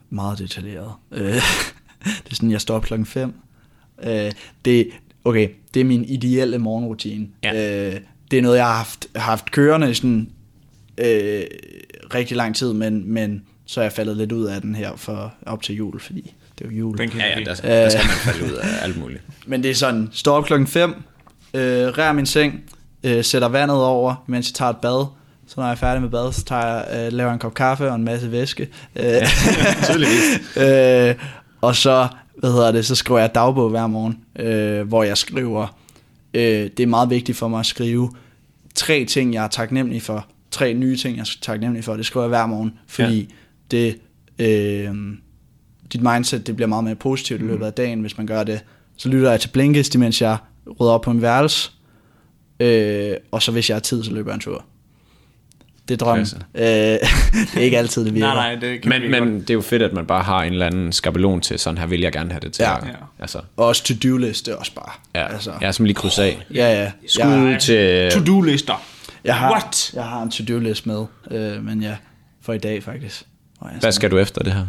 S3: meget detaljeret. Øh, det er sådan, jeg står op klokken 5. Øh, det, okay, det er min ideelle morgenrutine.
S1: Ja.
S3: Øh, det er noget, jeg har haft, haft kørende i sådan øh, rigtig lang tid, men, men så er jeg faldet lidt ud af den her for op til jul, fordi det er jo jul.
S2: Den kan
S1: ja,
S2: jeg
S1: ja
S2: ikke.
S1: der, der skal man falde ud af alt muligt.
S3: Men det er sådan, står op klokken 5, øh, rær min seng, øh, sætter vandet over, mens jeg tager et bad, Så når jeg er færdig med bad, så tager jeg, øh, laver jeg en kop kaffe og en masse væske. Øh, ja,
S2: tydeligvis.
S3: øh, og så, hvad hedder det, så skriver jeg dagbog hver morgen, øh, hvor jeg skriver, øh, det er meget vigtigt for mig at skrive tre ting, jeg er taknemmelig for, tre nye ting, jeg er taknemmelig for, det skriver jeg hver morgen, fordi ja. det, øh, dit mindset, det bliver meget mere positivt i løbet af dagen, hvis man gør det. Så lytter jeg til Blinkist, mens jeg rydder op på en værelse, øh, og så hvis jeg har tid, så løber jeg en tur. Det er drømmen.
S1: Klasse.
S3: Øh, det er ikke altid, det virker.
S2: Nej, nej, det kan vi
S1: Men,
S2: ikke
S1: men det er jo fedt, at man bare har en eller anden skabelon til, sådan her vil jeg gerne have det til.
S3: Ja.
S1: at-
S2: Ja.
S1: Altså,
S3: Og også to-do-liste også bare.
S1: ja.
S3: Altså,
S1: Altså. Jeg er som lige krydse af.
S3: ja, ja.
S1: Skud ud til... øh,
S2: godt. To-do-lister.
S3: Jeg har,
S2: What?
S3: jeg har en to-do-list med, øh, men ja, for i dag faktisk. Og jeg
S1: Hvad skal du efter det her?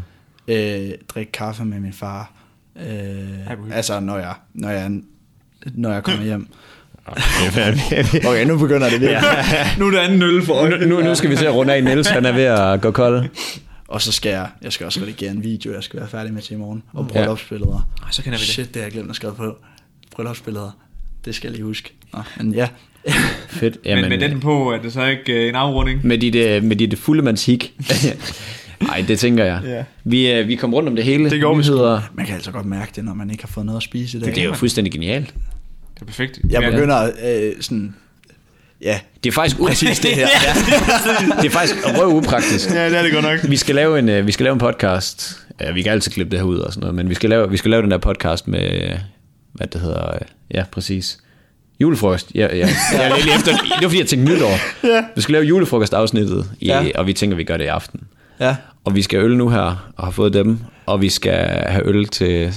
S3: Øh, drikke kaffe med min far.
S2: Ej, hvor
S3: Øh, altså, når jeg, når, jeg, når jeg kommer hjem.
S1: okay,
S3: Okay, nu begynder det virkelig.
S2: Nu er der anden øl for øje.
S1: nu, nu skal vi til at runde af. Niels, han er ved at gå kold.
S3: Og så skal jeg, jeg skal også redigere en video, jeg skal være færdig med til i morgen. Og
S1: Ja.
S3: bryllupsbilleder.
S2: Ej, så kender vi det.
S3: Shit, det har jeg glemt at skrive på. Bryllupsbilleder. Det skal jeg lige huske. Nå, men ja.
S1: Fedt.
S2: Men med den på, er det så ikke øh, en afrunding?
S1: med dit, øh, med dit fulde mandshik. Nej, det tænker jeg.
S2: Ja.
S1: Vi, øh, vi kom rundt om det hele.
S2: Det gjorde vi sgu.
S1: Nyheder.
S3: Man kan altså godt mærke det, når man ikke har fået noget at spise i dag.
S1: Det er jo fuldstændig genialt.
S2: Det er perfekt.
S3: Jeg
S2: Ja.
S3: begynder øh, sådan... Ja,
S1: Det er faktisk upræcis det her.
S2: Ja,
S1: Det er faktisk røv upraktisk.
S2: ja, det er det godt nok.
S1: Vi skal lave en, øh, vi skal lave en podcast. Ja, vi kan altid klippe det her ud og sådan noget, men vi skal lave, vi skal lave den der podcast med, øh, hvad det hedder, øh, ja, præcis. Julefrokost. Ja, ja. Jeg er lige efter, det var fordi, jeg tænkte nytår. Ja. Vi skal lave julefrokostafsnittet, i, ja.
S3: Ja.
S1: og vi tænker, vi gør det i aften.
S3: ja.
S1: Og vi skal have øl nu her, og har fået dem. Og vi skal have øl til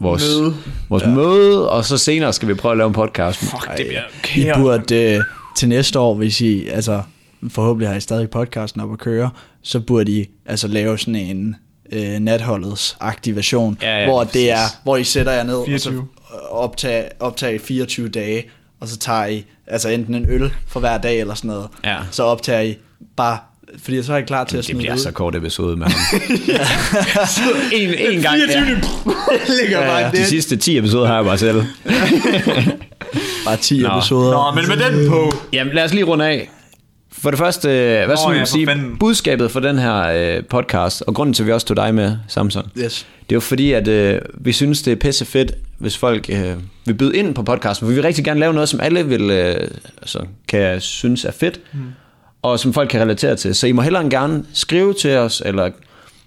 S1: vores møde, vores ja. møde og så senere skal vi prøve at lave en podcast.
S2: Fuck, det bliver
S3: I
S2: kære.
S3: burde øh, til næste år, hvis I, altså forhåbentlig har I stadig podcasten op at køre, så burde I altså lave sådan en øh, natholdets aktivation,
S1: Ja, ja,
S3: hvor
S1: præcis.
S3: det er, hvor I sætter jer ned
S2: 24.
S3: og så øh, optager, optager i 24 dage, og så tager I altså enten en øl for hver dag eller sådan noget,
S1: Ja.
S3: så optager I bare, fordi så er I klar til at
S1: Det
S3: smide
S1: bliver
S3: ud.
S1: så kort episode med ham. en, en gang.
S2: 24. ligger bare
S1: De
S2: det.
S1: sidste 10 episoder har jeg bare selv.
S3: bare 10
S1: Nå.
S3: episoder.
S2: Nå, men med den på.
S1: Jamen, lad os lige runde af. For det første, øh, hvad
S2: Nå,
S1: skulle
S2: ja,
S1: man
S2: for
S1: sige,
S2: fanden.
S1: budskabet for den her øh, podcast, og grunden til, at vi også tog dig med, Samson,
S3: Yes.
S1: det er jo fordi, at øh, vi synes, det er pisse fedt, hvis folk øh, vil byde ind på podcasten, for vi vil rigtig gerne lave noget, som alle vil, øh, altså, kan synes er fedt, mm. og som folk kan relatere til. Så I må hellere end gerne skrive til os, eller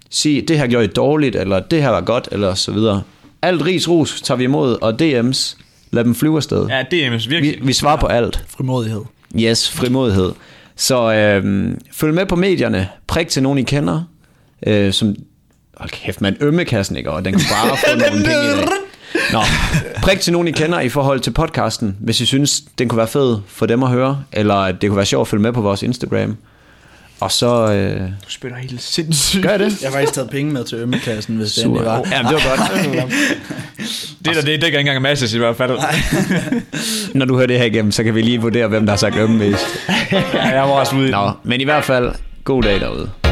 S1: sige, det her gjorde I dårligt, eller det her var godt, eller så videre. Alt ris ros tager vi imod, og DM's, lad dem flyve afsted.
S2: Ja, det er Emils
S1: Vi,
S2: virkelig.
S1: vi svarer på alt.
S3: Frimodighed.
S1: Yes, frimodighed. Så øhm, følg med på medierne. Prik til nogen, I kender. Øh, som, hold kæft, man ømmekassen, ikke? Og den kan bare få nogle penge i dag. Nå, prik til nogen, I kender i forhold til podcasten, hvis I synes, den kunne være fed for dem at høre, eller at det kunne være sjovt at følge med på vores Instagram. Og så øh,
S2: Du spiller helt sindssygt.
S1: gør jeg det.
S3: Jeg har faktisk taget penge med til ømmekassen, hvis det
S1: Super.
S3: endelig var.
S1: Jamen, det var godt.
S2: Det der, det dækker ikke engang masses i hvert fald.
S1: Når du hører det her igennem, så kan vi lige vurdere, hvem der har sagt ømme mest.
S2: Ja, jeg var også ude i den.
S1: Nå, men i hvert fald, god dag derude.